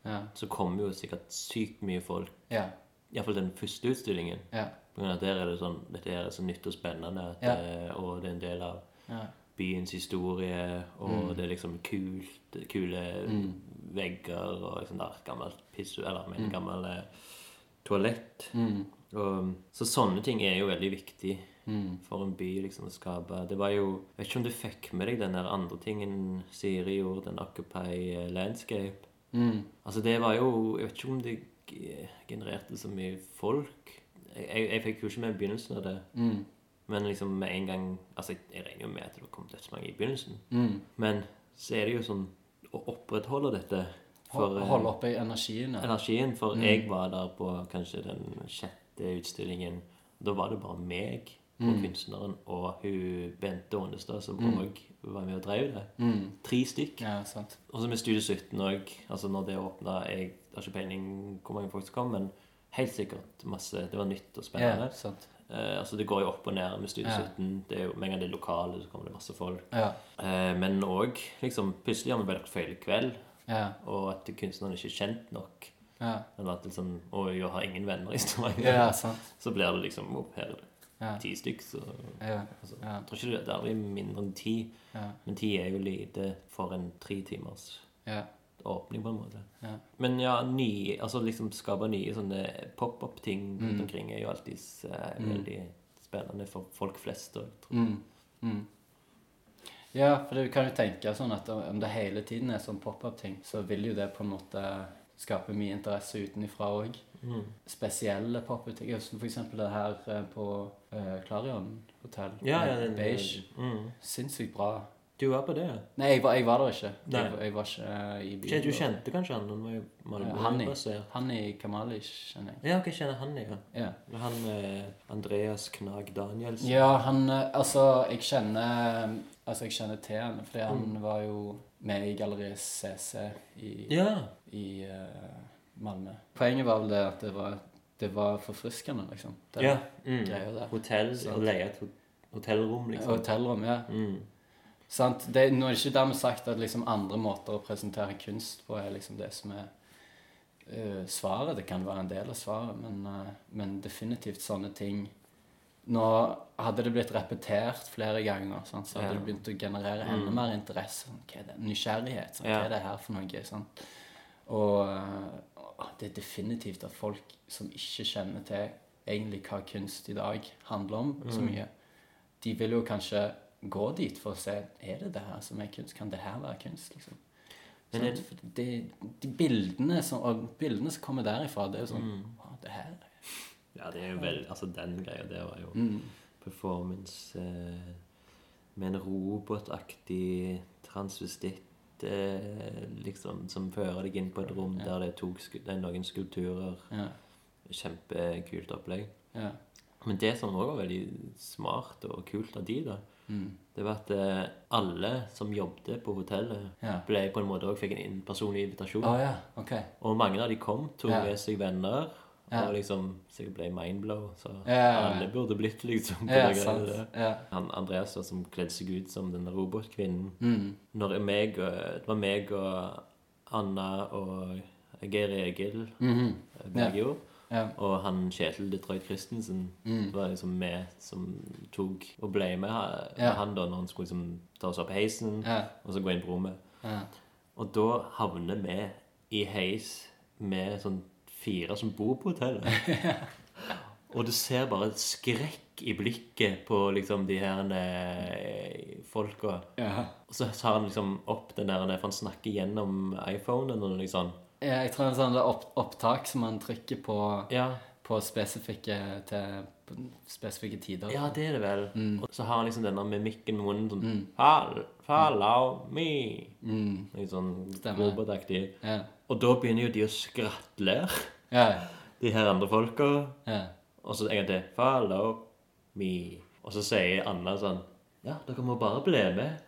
Ja.
så kommer jo sikkert sykt mye folk.
Ja.
Iallfall den første utstillingen.
Ja.
På grunn av at der er det sånn, Dette her er så nytt og spennende, at
Ja.
det, og det er en del av
Ja. Mm.
byens historie, og det er liksom kult, kule vegger og liksom der, gammelt pissu, eller
Mm.
med gammel eh, toalett. Og, så sånne ting er jo veldig viktig
mm,
for en by liksom å skape. Det var jo, Jeg vet ikke om du fikk med deg den der andre tingen Siri gjorde, den Occupy eh, Landscape.
mm,
Altså det var jo Jeg vet ikke om det g- genererte så mye folk. Jeg, jeg, jeg fikk jo ikke med begynnelsen av det.
mm,
Men liksom med en gang Altså jeg, jeg regner jo med at det kom dødsmange i begynnelsen.
mm.
Men så er det jo sånn å opprettholde dette for
Hold-
eh,
Holde oppe energien. ja. Mm.
energien. For jeg var der på kanskje den sjette utstillingen. Da var det bare meg og
Mm.
kunstneren og hun Bente Ånestad som òg var med og drev det. Tre stykk.
Mm. Ja, sant.
Og så med Studio 17 òg. Altså når det åpna Jeg har ikke peiling hvor mange folk som kom, men helt sikkert masse. Det var nytt
Ja,
og spennende.
sant.
Eh, altså Det går jo opp og ned med Studio
Ja.
17. Det er jo, Med en gang det er lokale, så kommer det masse folk.
Ja.
Eh, men òg liksom, Plutselig har vi bare lagt feil kveld,
Ja.
og at kunstneren ikke er kjent nok.
Ja.
Eller at liksom Og jeg har ingen venner i Stavanger.
ja, sant.
Så blir det liksom opp her
Ja.
ti stykk, så Jeg
Ja. Ja.
tror ikke det, det er mindre enn ti.
Ja.
Men ti er jo lite for en tre timers
Ja.
åpning, på en måte.
Ja.
Men ja, nye, altså liksom skape nye sånne pop-up-ting rundt omkring er jo alltid eh, veldig spennende for folk flest. Og, tror. jeg.
Mm, Ja, for du kan jo tenke sånn at om det hele tiden er sånn pop-up-ting, så vil jo det på en måte skape mye interesse utenifra òg. Spesielle pop-up-ting, som for eksempel det her eh, på eh, Clarion hotell.
Ja, ja, den-
Beige.
Mm.
Sinnssykt bra.
Du var på det?
Nei, jeg var, jeg var der ikke. Jeg,
Nei.
jeg var ikke eh, i byen.
Kjente, du kjente kanskje han? Han var jo
Ja,
Malmö-
Hanni.
basert.
Hanni Kamalish, kjenner jeg.
Ja, ok, jeg kjenner han, ja.
Ja.
Han eh, Andreas Knag Danielsen.
Ja, han eh, Altså, jeg kjenner Altså, jeg kjenner til han, fordi han
Mm.
var jo med i Galleriet CC i,
Ja.
i eh, Malmö. Poenget var vel det at det var, det var forfriskende, liksom. Det
ja. Mm.
greia der.
Hotell, å leie et ho- hotellrom, liksom.
Hotellrom, ja.
Mm.
Sant? Det, nå er det ikke dermed sagt at liksom andre måter å presentere kunst på er liksom det som er eh, svaret. Det kan være en del av svaret, men, eh, men definitivt sånne ting Nå hadde det blitt repetert flere ganger, sant? så hadde
Ja. Mm.
det begynt å generere enda mer interesse. Sånn, hva er det? Nysgjerrighet. Sånn,
Ja.
Hva er det her for noe? Sant? Og eh, og det er definitivt at folk som ikke kjenner til egentlig hva kunst i dag handler om så
Mm.
mye, de vil jo kanskje gå dit for å se er det det her som er kunst. Kan det her være kunst? liksom?
Men
Sånn,
er det-
for de, de bildene, som, og bildene som kommer derifra, det er jo sånn
Mm.
Å, det her
Ja, det er jo vel, altså den greia der var jo
Mm.
performance eh, med en robotaktig transvestitt eh, liksom, som fører deg inn på et rom der det er, to, sku- det er noen skulpturer.
Ja.
Kjempekult opplegg.
ja.
Men det som òg var veldig smart og kult av de, da,
Mm.
det var at eh, alle som jobbet på hotellet,
Ja.
ble på en måte også fikk en in- personlig invitasjon.
Å ja. Ok.
Og mange av de kom, tok
Ja.
med seg venner.
Ja.
Og liksom sikkert ble mindblow. Så
Ja, ja, ja.
alle burde blitt liksom på
Ja,
det greiene
sant.
der.
Ja.
Han Andreas da, som kledde seg ut som denne robotkvinnen.
Mm.
Når meg og, det var meg og Anna og Geir Egil
Mhm.
eh, Bergjo
ja.
og han Kjetil Detroit Christensen
Mm.
det var liksom vi som tok og ble med ha-
Ja.
han da når han skulle liksom ta oss opp heisen
Ja.
og så gå inn på rommet.
ja.
Og da havner vi i heis med sånn fire som bor på hotellet. Og du ser bare et skrekk i blikket på liksom de her eh, folka.
ja.
Og så tar han liksom opp den der, for han snakker gjennom iPhonen og liksom
Ja, jeg tror det er sånn det er opp, opptak som man trykker på
Ja,
på spesifikke, til, på spesifikke tider.
ja det er det vel.
Mm.
Og så har han liksom denne mimikken i munnen sånn Hal, Follow me. Litt sånn
Mm. Stemmer.
robotaktig.
Ja.
Og da begynner jo de å skratle,
Ja.
de her andre folka.
ja.
Og så en gang til. Follow me. Og så sier Anna sånn Ja, dere må bare bli med.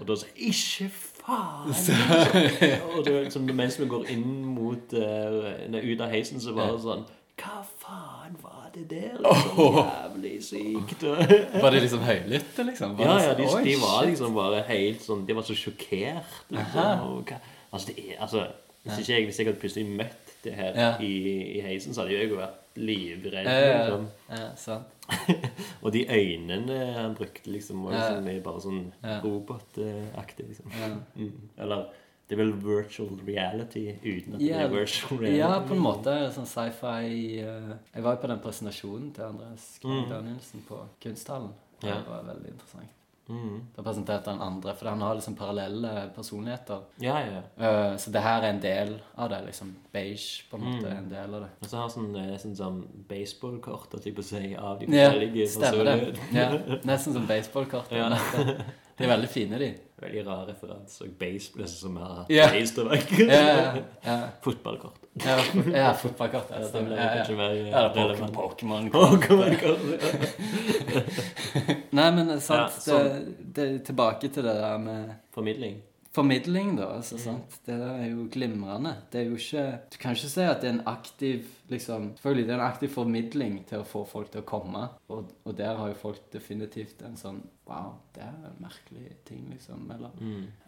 Og da sier jeg, Ikke faen! og det er liksom, mens vi går inn mot eh, nei, ut av heisen, så bare sånn Hva faen var det der? Liksom, jævlig sykt. Og-
Var det liksom høylytte, liksom? Var
ja,
det
ja,
sånn,
de,
«Oi,
de var
shit».
liksom bare helt sånn De var så sjokkert. Liksom. Og hva- Altså, det er Altså, hvis ikke jeg, hvis jeg hadde plutselig møtt det her
Ja.
i, i heisen, så hadde jo jeg jo vært livredd.
Ja, ja,
Liksom.
ja, ja, sant.
Og de øynene han brukte, liksom, var
Ja.
liksom, bare sånn
Ja.
robotaktig. liksom.
Ja.
Mm. Eller det er vel virtual reality uten at det
Ja,
er virtual reality.
ja, på en måte. Sånn sci-fi eh, Jeg var jo på den presentasjonen til Andreas Kring Danielsen på Kunsthallen. Det
Mm. Ja.
var veldig interessant.
Mm.
Da presenterte han andre, for han har liksom parallelle personligheter.
Ja, ja.
Eh, så det her er en del av det. liksom Beige på en
Mm.
måte er en del av det.
Og så har han sånn, eh, nesten sånn baseballkort at jeg på seg av de
Ja,
forskjellige
stemmer det.
personene.
Ja, nesten som baseballkort.
Ja.
De er veldig fine, de.
Veldig rar referanse. Og baseball er sånn som har hatt
Ja.
registerverk.
Ja, ja, ja.
Fotballkort.
Ja, ja fotballkort. Ja,
Ja, det
stemmer.
ble
altså. Ja, ja.
kanskje mer eh,
Ja, det er
relevant.
Pokémon.
Pokémon-kort.
Nei, men det er sant,
Ja, sånn.
det, det er tilbake til det der med
Formidling.
formidling, da. altså sant? Det der er jo glimrende. Det er jo ikke Du kan ikke si at det er en aktiv liksom, Selvfølgelig, det er en aktiv formidling til å få folk til å komme. Og, og der har jo folk definitivt en sånn Wow, det er en merkelig ting, liksom. Eller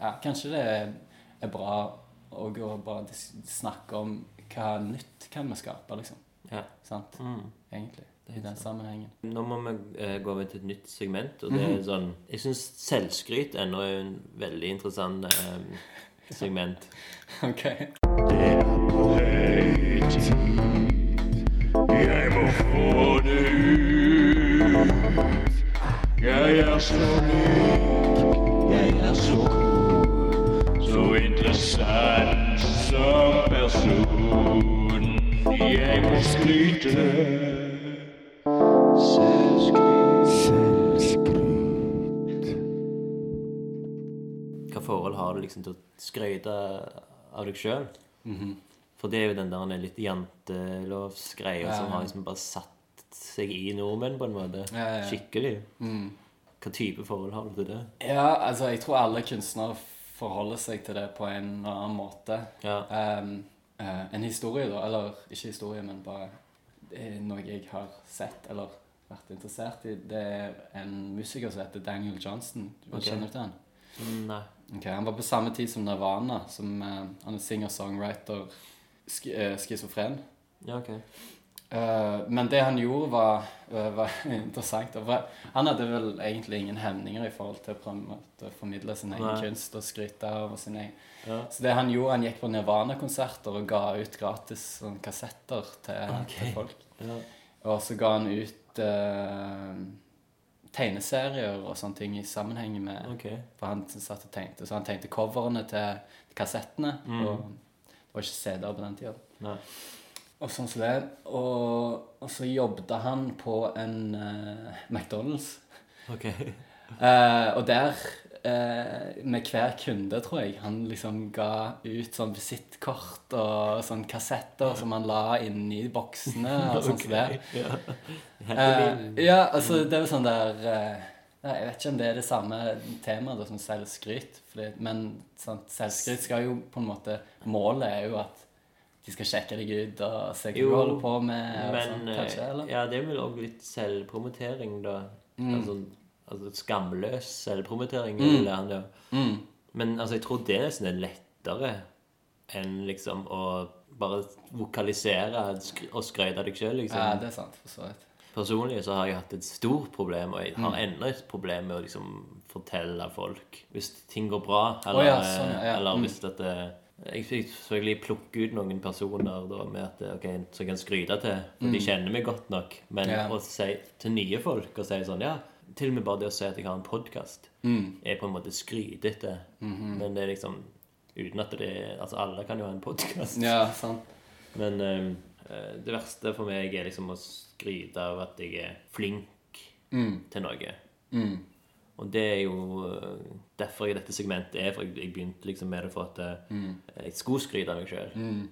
ja, kanskje det er, er bra å gå og bare dis- snakke om hva nytt kan vi skape, liksom.
Ja.
Sant?
Mm.
Egentlig. I den sammenhengen.
Nå må vi eh, gå over til et nytt segment. Og det
Mhm.
er sånn Jeg syns selvskryt ennå er en veldig interessant eh, segment.
OK.
Jeg må få det ut. Jeg er så rik, jeg er så god, så interessant som person. Jeg må skryte. Selvskryt.
Hva forhold har du liksom til å skryte av deg sjøl?
Mhm.
For det er jo den der litt jantelovsgreia som har liksom bare satt seg i nordmenn på en måte.
Ja, ja, Mm. ja.
Skikkelig. Hva type forhold har du til det?
Ja, altså, jeg tror alle kunstnere forholder seg til det på en eller annen måte.
Ja.
Ehm, eh, en historie, da, eller ikke historie, men bare eh, noe jeg har sett eller vært interessert i, det er en musiker som heter Daniel Johnston. Du
Ok.
Kjenner du til han?
Nei.
Ok, Han var på samme tid som Nirvana, som eh, han er singer-songwriter sk eh, schizofren.
Ja, ok.
Eh, men det han gjorde, var, eh, var interessant. og var- Han hadde vel egentlig ingen hemninger i forhold til å på en måte formidle sin egen
Nei.
kunst og skryte av sin egen
Ja.
Så det han gjorde, han gikk på Nirvana-konserter og ga ut gratis sånn, kassetter til, til folk.
Ja.
Og så ga han ut eh, tegneserier og sånne ting i sammenheng med
Ok.
For han satt og tegnte. Så han tegnte coverne til kassettene. Og det var ikke CD-er på den tida.
Mm. Nei.
Og sånn som det. Og, og så jobbet han på en eh, McDonald's.
Ok.
Eh, og der, eh, med hver kunde, tror jeg, han liksom ga ut sånn visittkort og sånn kassetter som han la inni boksene og sånn som det.
Ja.
Eh, ja, altså, det er jo sånn der eh, ja, Jeg vet ikke om det er det samme temaet da, som selvskryt, fordi, men sant, selvskryt skal jo på en måte Målet er jo at de skal sjekke deg ut og se hva
Jo,
du holder på med, og
Men
sånn,
eh,
kanskje, eller? Mm.
ja, det er vel òg litt selvpromotering, da. Altså, altså skamløs selvpromotering. vil jeg gjerne, ja.
Mm.
Men altså, jeg tror det nesten er lettere enn liksom å bare vokalisere sk- og skryte av deg sjøl, liksom.
Ja, det er sant, for så vidt.
Personlig så har jeg hatt et stort problem, og jeg har ennå et problem med å liksom fortelle folk hvis ting går bra, eller,
Å ja, sånn, ja, ja.
eller
Mm.
hvis at det, jeg fikk selvfølgelig plukke ut noen personer da, med at, ok, som jeg kan skryte til, for de kjenner meg godt nok. Men
Mm. Ja.
å si til nye folk og si sånn Ja, til og med bare det å si at jeg har en podkast,
Mm.
er på en måte skrytete.
Mhm.
Men det er liksom uten at det Altså, alle kan jo ha en podkast.
Ja, sant.
Men ehm, eh, det verste for meg er liksom å skryte av at jeg er flink
Mm,
til noe. Og det er jo eh, derfor jeg i dette segmentet er, for jeg, jeg begynte liksom med det for at eh, jeg skulle skryte av meg sjøl.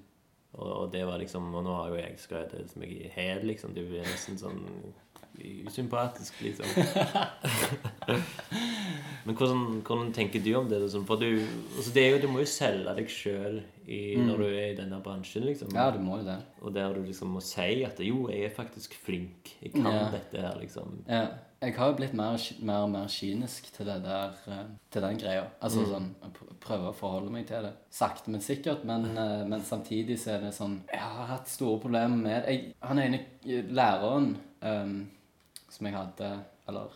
Og, og det var liksom Og nå har jo jeg skrytt av det som jeg er hel, liksom. Det blir nesten sånn usympatisk, liksom. Men hvordan, hvordan tenker du om det? Liksom? For du, altså det er jo, du må jo selge deg sjøl når du er i denne bransjen, liksom.
Ja, du må jo det.
Og der du liksom må si at jo, jeg er faktisk flink. Jeg kan
Ja.
dette her, liksom.
Ja. Jeg har jo blitt mer, mer og mer kynisk til, det der, eh, til den greia. Altså
Mm.
sånn, jeg pr- prøver å forholde meg til det. Sakte, men sikkert. Men, eh, men samtidig så er det sånn Jeg har hatt store problemer med det. Jeg- Han ene læreren ehm, som jeg hadde Eller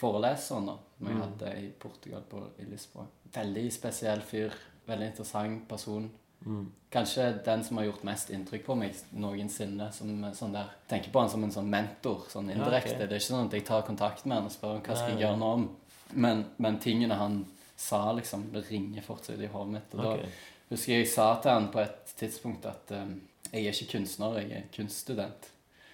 foreleseren, da. Som jeg
Mm.
hadde i Portugal, på, i Lisboa. Veldig spesiell fyr. Veldig interessant person.
Mm.
Kanskje den som har gjort mest inntrykk på meg noensinne. Som, eh, sånn der, tenker på han som en sånn mentor, sånn
Ja,
indirekte.
ok.
Det er ikke sånn at jeg tar kontakt med han og spør om hva skal jeg
Nei,
gjøre nå om. Men, men tingene han sa, liksom, det ringer fortsatt i hodet mitt. Og
Ok.
da husker jeg jeg sa til han på et tidspunkt at eh, jeg er ikke kunstner, jeg er kunststudent.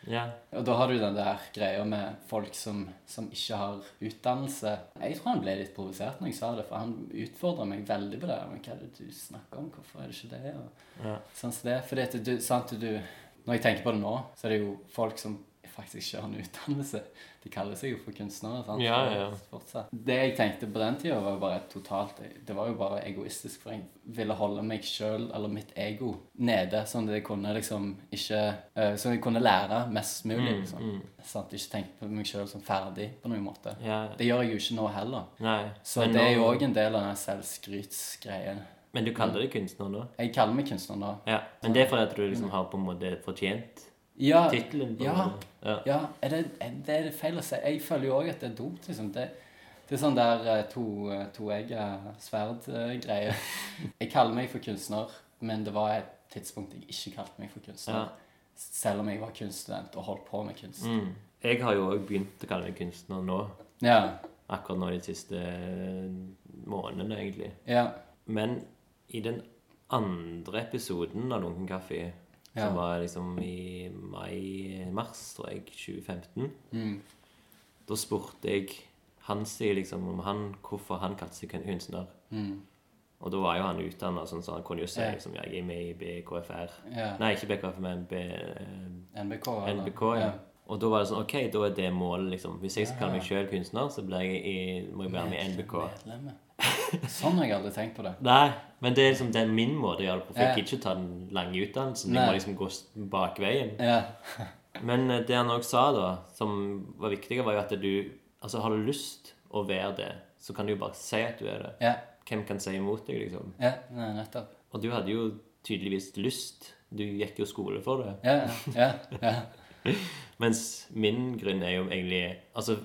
Ja.
Og da har du den der greia med folk som, som ikke har utdannelse. Jeg tror han ble litt provosert når jeg sa det, for han utfordra meg veldig på det. Men hva er det du snakker om? Hvorfor er det ikke det? Og
Ja.
sånn som det. Fordi at du, sant, du, når jeg tenker på det nå, så er det jo folk som faktisk ikke har en utdannelse. De kaller seg jo for kunstnere. sant?
Ja, ja, ja.
Fortsatt. Det jeg tenkte på den tida, var jo bare totalt Det var jo bare egoistisk, for jeg ville holde meg sjøl, eller mitt ego, nede, sånn at jeg kunne liksom ikke eh, Sånn at jeg kunne lære mest
Mm,
mulig, liksom. Sant? Ikke tenke på meg sjøl som ferdig på noen måte.
ja.
Det gjør jeg jo ikke nå heller.
Nei.
Så
men
det er
nå-
jo òg en del av den selvskrytsgreien.
Men du kaller deg kunstner nå?
Jeg kaller meg kunstner nå.
Ja. Men det er fordi at du liksom har på en måte fortjent
Ja,
tittelen? på en
ja.
måte. Ja.
Ja, er det, er det er feil å si. Jeg føler jo òg at det er dumt. liksom. Det, det er sånn der eh, to, eh, toegga sverd-greie. Jeg kaller meg for kunstner, men det var et tidspunkt jeg ikke kalte meg for kunstner.
Ja.
Selv om jeg var kunststudent og holdt på med kunst.
Mm. Jeg har jo òg begynt å kalle meg kunstner nå.
Ja,
Akkurat nå de siste eh, månedene, egentlig.
ja,
Men i den andre episoden av Lunken kaffe,
Ja.
som var liksom i mai-mars, tror jeg, 2015,
Mm.
da spurte jeg Hansi liksom om han, hvorfor han kalte seg kunstner. Og da var jo han utdanna, sånn, så han kunne jo si
Mm. Ja.
liksom, jeg er med i BKFR.
Ja.
Nei, ikke BKFR, men B,
NBK. eller?
NBK, ja. Og da var det sånn OK, da er det målet, liksom. Hvis jeg skal kalle meg sjøl kunstner, så blir jeg i, må jeg være med i NBK.
Medlemmer. Sånn har jeg aldri tenkt på det.
Nei, men det er liksom det er min måte å gjøre det på. For
Ja.
jeg gidder ikke ta den lange utdannelsen. Jeg
Nei.
må liksom gå s- bakveien.
Ja.
Men eh, det han òg sa, da, som var viktig, var jo at du Altså, har du lyst å være det, så kan du jo bare si at du er det.
Ja.
Hvem kan si imot deg, liksom?
ja. Nei, nettopp.
Og du hadde jo tydeligvis lyst. Du gikk jo skole for det.
Ja, ja, ja.
Mens min grunn er jo egentlig Altså,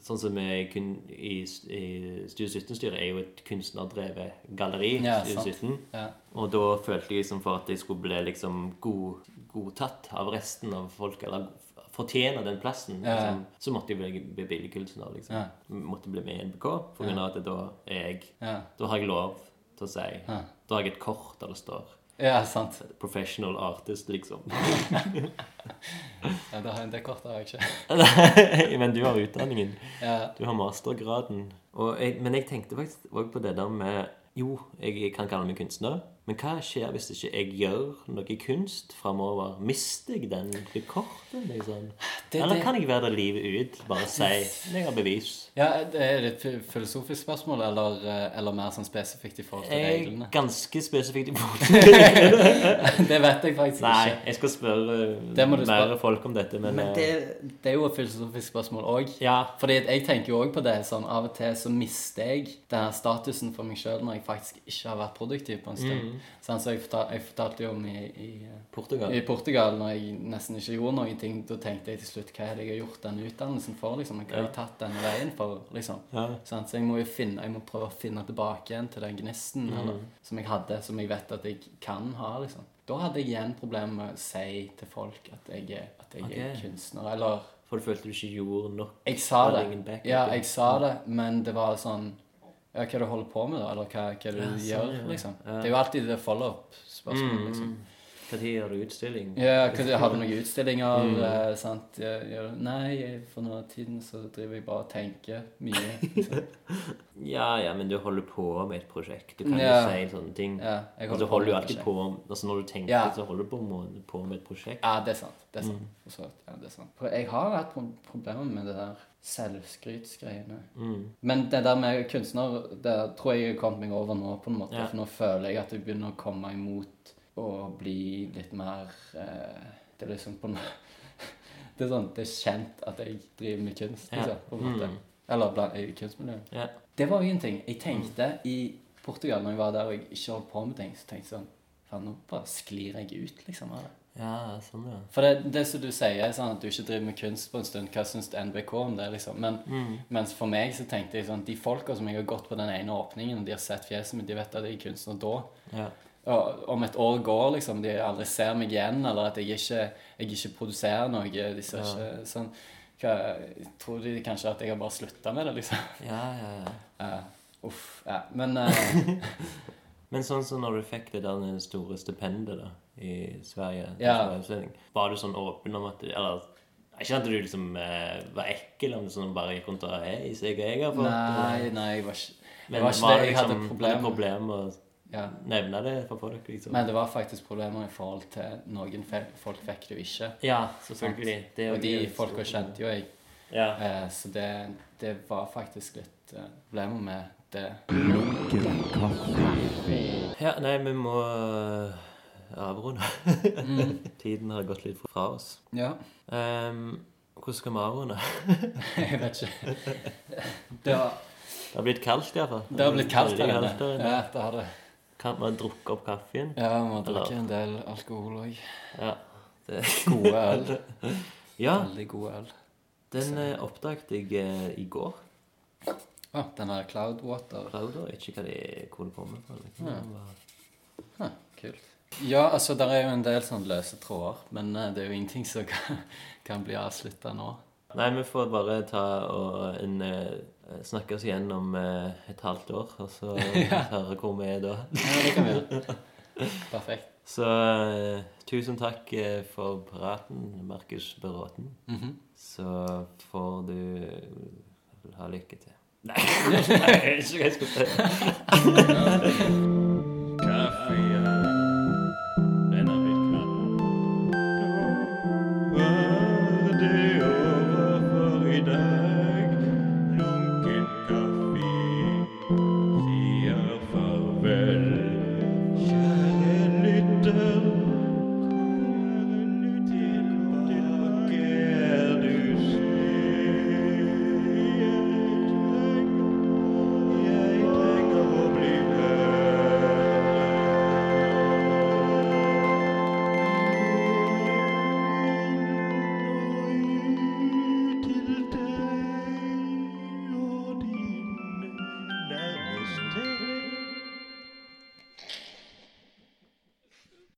sånn som vi kun i, i Studio 17-styret, er jo et kunstnerdrevet galleri.
Ja,
Studio
sant.
17.
ja.
Og da følte jeg liksom for at jeg skulle bli liksom god, godtatt av resten av folk, eller fortjene den plassen.
Ja, ja.
Liksom. Så måtte jeg bli, bli billedkunstner, liksom.
Ja.
Måtte bli med i NBK, for grunn av at da er jeg
ja.
Da har jeg lov til å si
Ja.
Da har jeg et kort der det står
ja sant.
'professional artist', liksom.
Ja, det, har, det kortet har jeg ikke.
Men du har utdanningen.
Ja,
Du har mastergraden. Og jeg, men jeg tenkte faktisk også på det der med Jo, jeg kan kalle meg kunstner, men hva skjer hvis ikke jeg gjør noe kunst framover? Mister jeg den det kortet, liksom?
Det-
Eller
det-
kan jeg være det livet ut? Bare si 'jeg har bevis'.
ja det er det et fi- filosofisk spørsmål, eller, eh, eller mer sånn spesifikt i forhold til
Jeg er
reglene?
ganske spesifikt imot det.
Det vet jeg faktisk
Nei,
ikke.
jeg skal spørre
Det må du
mer
spørre.
folk om dette, men,
Men det,
eh,
det er jo et filosofisk spørsmål òg.
Ja.
Fordi at jeg tenker jo også på det sånn Av og til så mister jeg denne statusen for meg sjøl når jeg faktisk ikke har vært produktiv på en
Mm.
stund. Sånn, så jeg, fortal, jeg fortalte jo om i, i, eh,
Portugal.
i Portugal, når jeg nesten ikke gjorde noen ting, da tenkte jeg til slutt Hva er det jeg har gjort denne utdannelsen for? liksom? Hva har jeg tatt denne veien for? liksom?
Ja.
Sånn, så jeg må jo finne, jeg må prøve å finne tilbake igjen til den gnisten
Mm.
eller, som jeg hadde, som jeg vet at jeg kan ha. liksom. Da hadde jeg igjen problemer med å si til folk at jeg er, at jeg
Ok.
er kunstner. Eller
For du følte du ikke gjorde nok?
jeg sa
Det er
det.
ingen backup,
Ja,
ja.
jeg sa det, men det var sånn Ja, hva er det du holder på med, da? Eller hva, hva er det du
Ja,
gjør,
sånn, ja.
liksom?
Ja.
Det er jo alltid det follow-up-spørsmålet,
Mm.
liksom.
Når gjør du utstilling?
Ja, hva- har du noen utstillinger?
Mm.
eh, sant? Ja, ja, nei, jeg- for nå tiden så driver jeg bare og tenker mye. Liksom.
Ja, ja, men du holder på med et prosjekt. Du kan
Ja.
jo si sånne ting.
Ja, jeg
og
holder
så
på
holder du
med et
alltid på altså Når du tenker,
Ja.
så holder du på med, på med et prosjekt.
Ja, det er sant. Det er
Mm.
sant. For så vidt. Ja, det er sant. For jeg har hatt pro problemer med det der selvskrytsgreiene.
Mm.
Men det der med kunstner, det tror jeg jeg har kommet meg over nå, på en måte.
Ja.
For nå føler jeg at jeg begynner å komme imot å bli litt mer eh, Det er liksom på en Det er sånn, det er kjent at jeg driver med kunst,
Ja. Mm.
liksom. På en måte. Eller blant, i kunstmiljøet.
Ja. Mm.
Det var jo en ting. Jeg tenkte i Portugal, når jeg var der og jeg ikke holdt på med ting, så tenkte jeg sånn Faen, nå bare sklir jeg ut, liksom. av det.
ja, sånn, ja.
For det, det som du sier, sånn at du ikke driver med kunst på en stund, hva syns NBK om det? liksom? Men,
Mm.
Mens for meg så tenkte jeg sånn De folka som jeg har gått på den ene åpningen, og de har sett fjeset mitt, de vet at jeg er kunstner da.
ja.
Og om et år går, liksom, de aldri ser meg igjen, eller at jeg ikke, jeg ikke produserer noe. De ser ikke sånn hva, Tror de kanskje at jeg har bare slutta med det, liksom?
Ja, ja, ja.
Eh, uff. Ja. Men eh,
Men sånn som når du fikk det der store stipendet da, i Sverige,
Ja.
til Sverigeutstilling, var du sånn åpen om at du Eller ikke at du liksom eh, var ekkel, men sånn bare gikk rundt og Hei, se hva jeg har fått.
Nei, nei, jeg var ikke,
Men
det var ikke det. Jeg hadde
liksom,
problemer.
problem med å
Ja.
nevne det for folk, liksom?
Men det var faktisk problemer i forhold til noen fe folk fikk det jo ikke.
ja, selvfølgelig. Det er jo
Og de
litt
folka
stort.
kjente jo jeg.
Ja.
Eh, Så det, det var faktisk litt eh, problemer med det.
Lunken kaffe.
ja. Nei, vi må øh, avrunde.
Mm.
Tiden har gått litt fra oss.
Ja.
Ehm, hvordan skal vi avrunde?
Jeg vet ikke. Det har,
Det har blitt kaldt, iallfall.
det har blitt kaldt her inne.
inne.
Ja, det har det.
Kan man drukke opp kaffen?
Ja, vi har drukket en del alkohol òg.
Ja. Det.
Gode øl.
ja
Veldig gode øl.
den eh, oppdaget jeg eh, i går.
Å, den der Cloudwater.
Rauder, ikke hva de, hvor det kommer fra. Liksom.
Huh, kult. Ja, altså, det er jo en del sånn løse tråder, men eh, det er jo ingenting som kan, kan bli avslutta nå.
Nei, vi får bare ta og en, eh, snakke oss igjen om eh, et halvt år, og så høre hvor vi er da.
Ja, det kan vi gjøre. Perfekt.
Så eh, tusen takk eh, for praten, Markus Beråten. Så får eh, du ha lykke til. Nei, jeg vet ikke hva jeg skal si.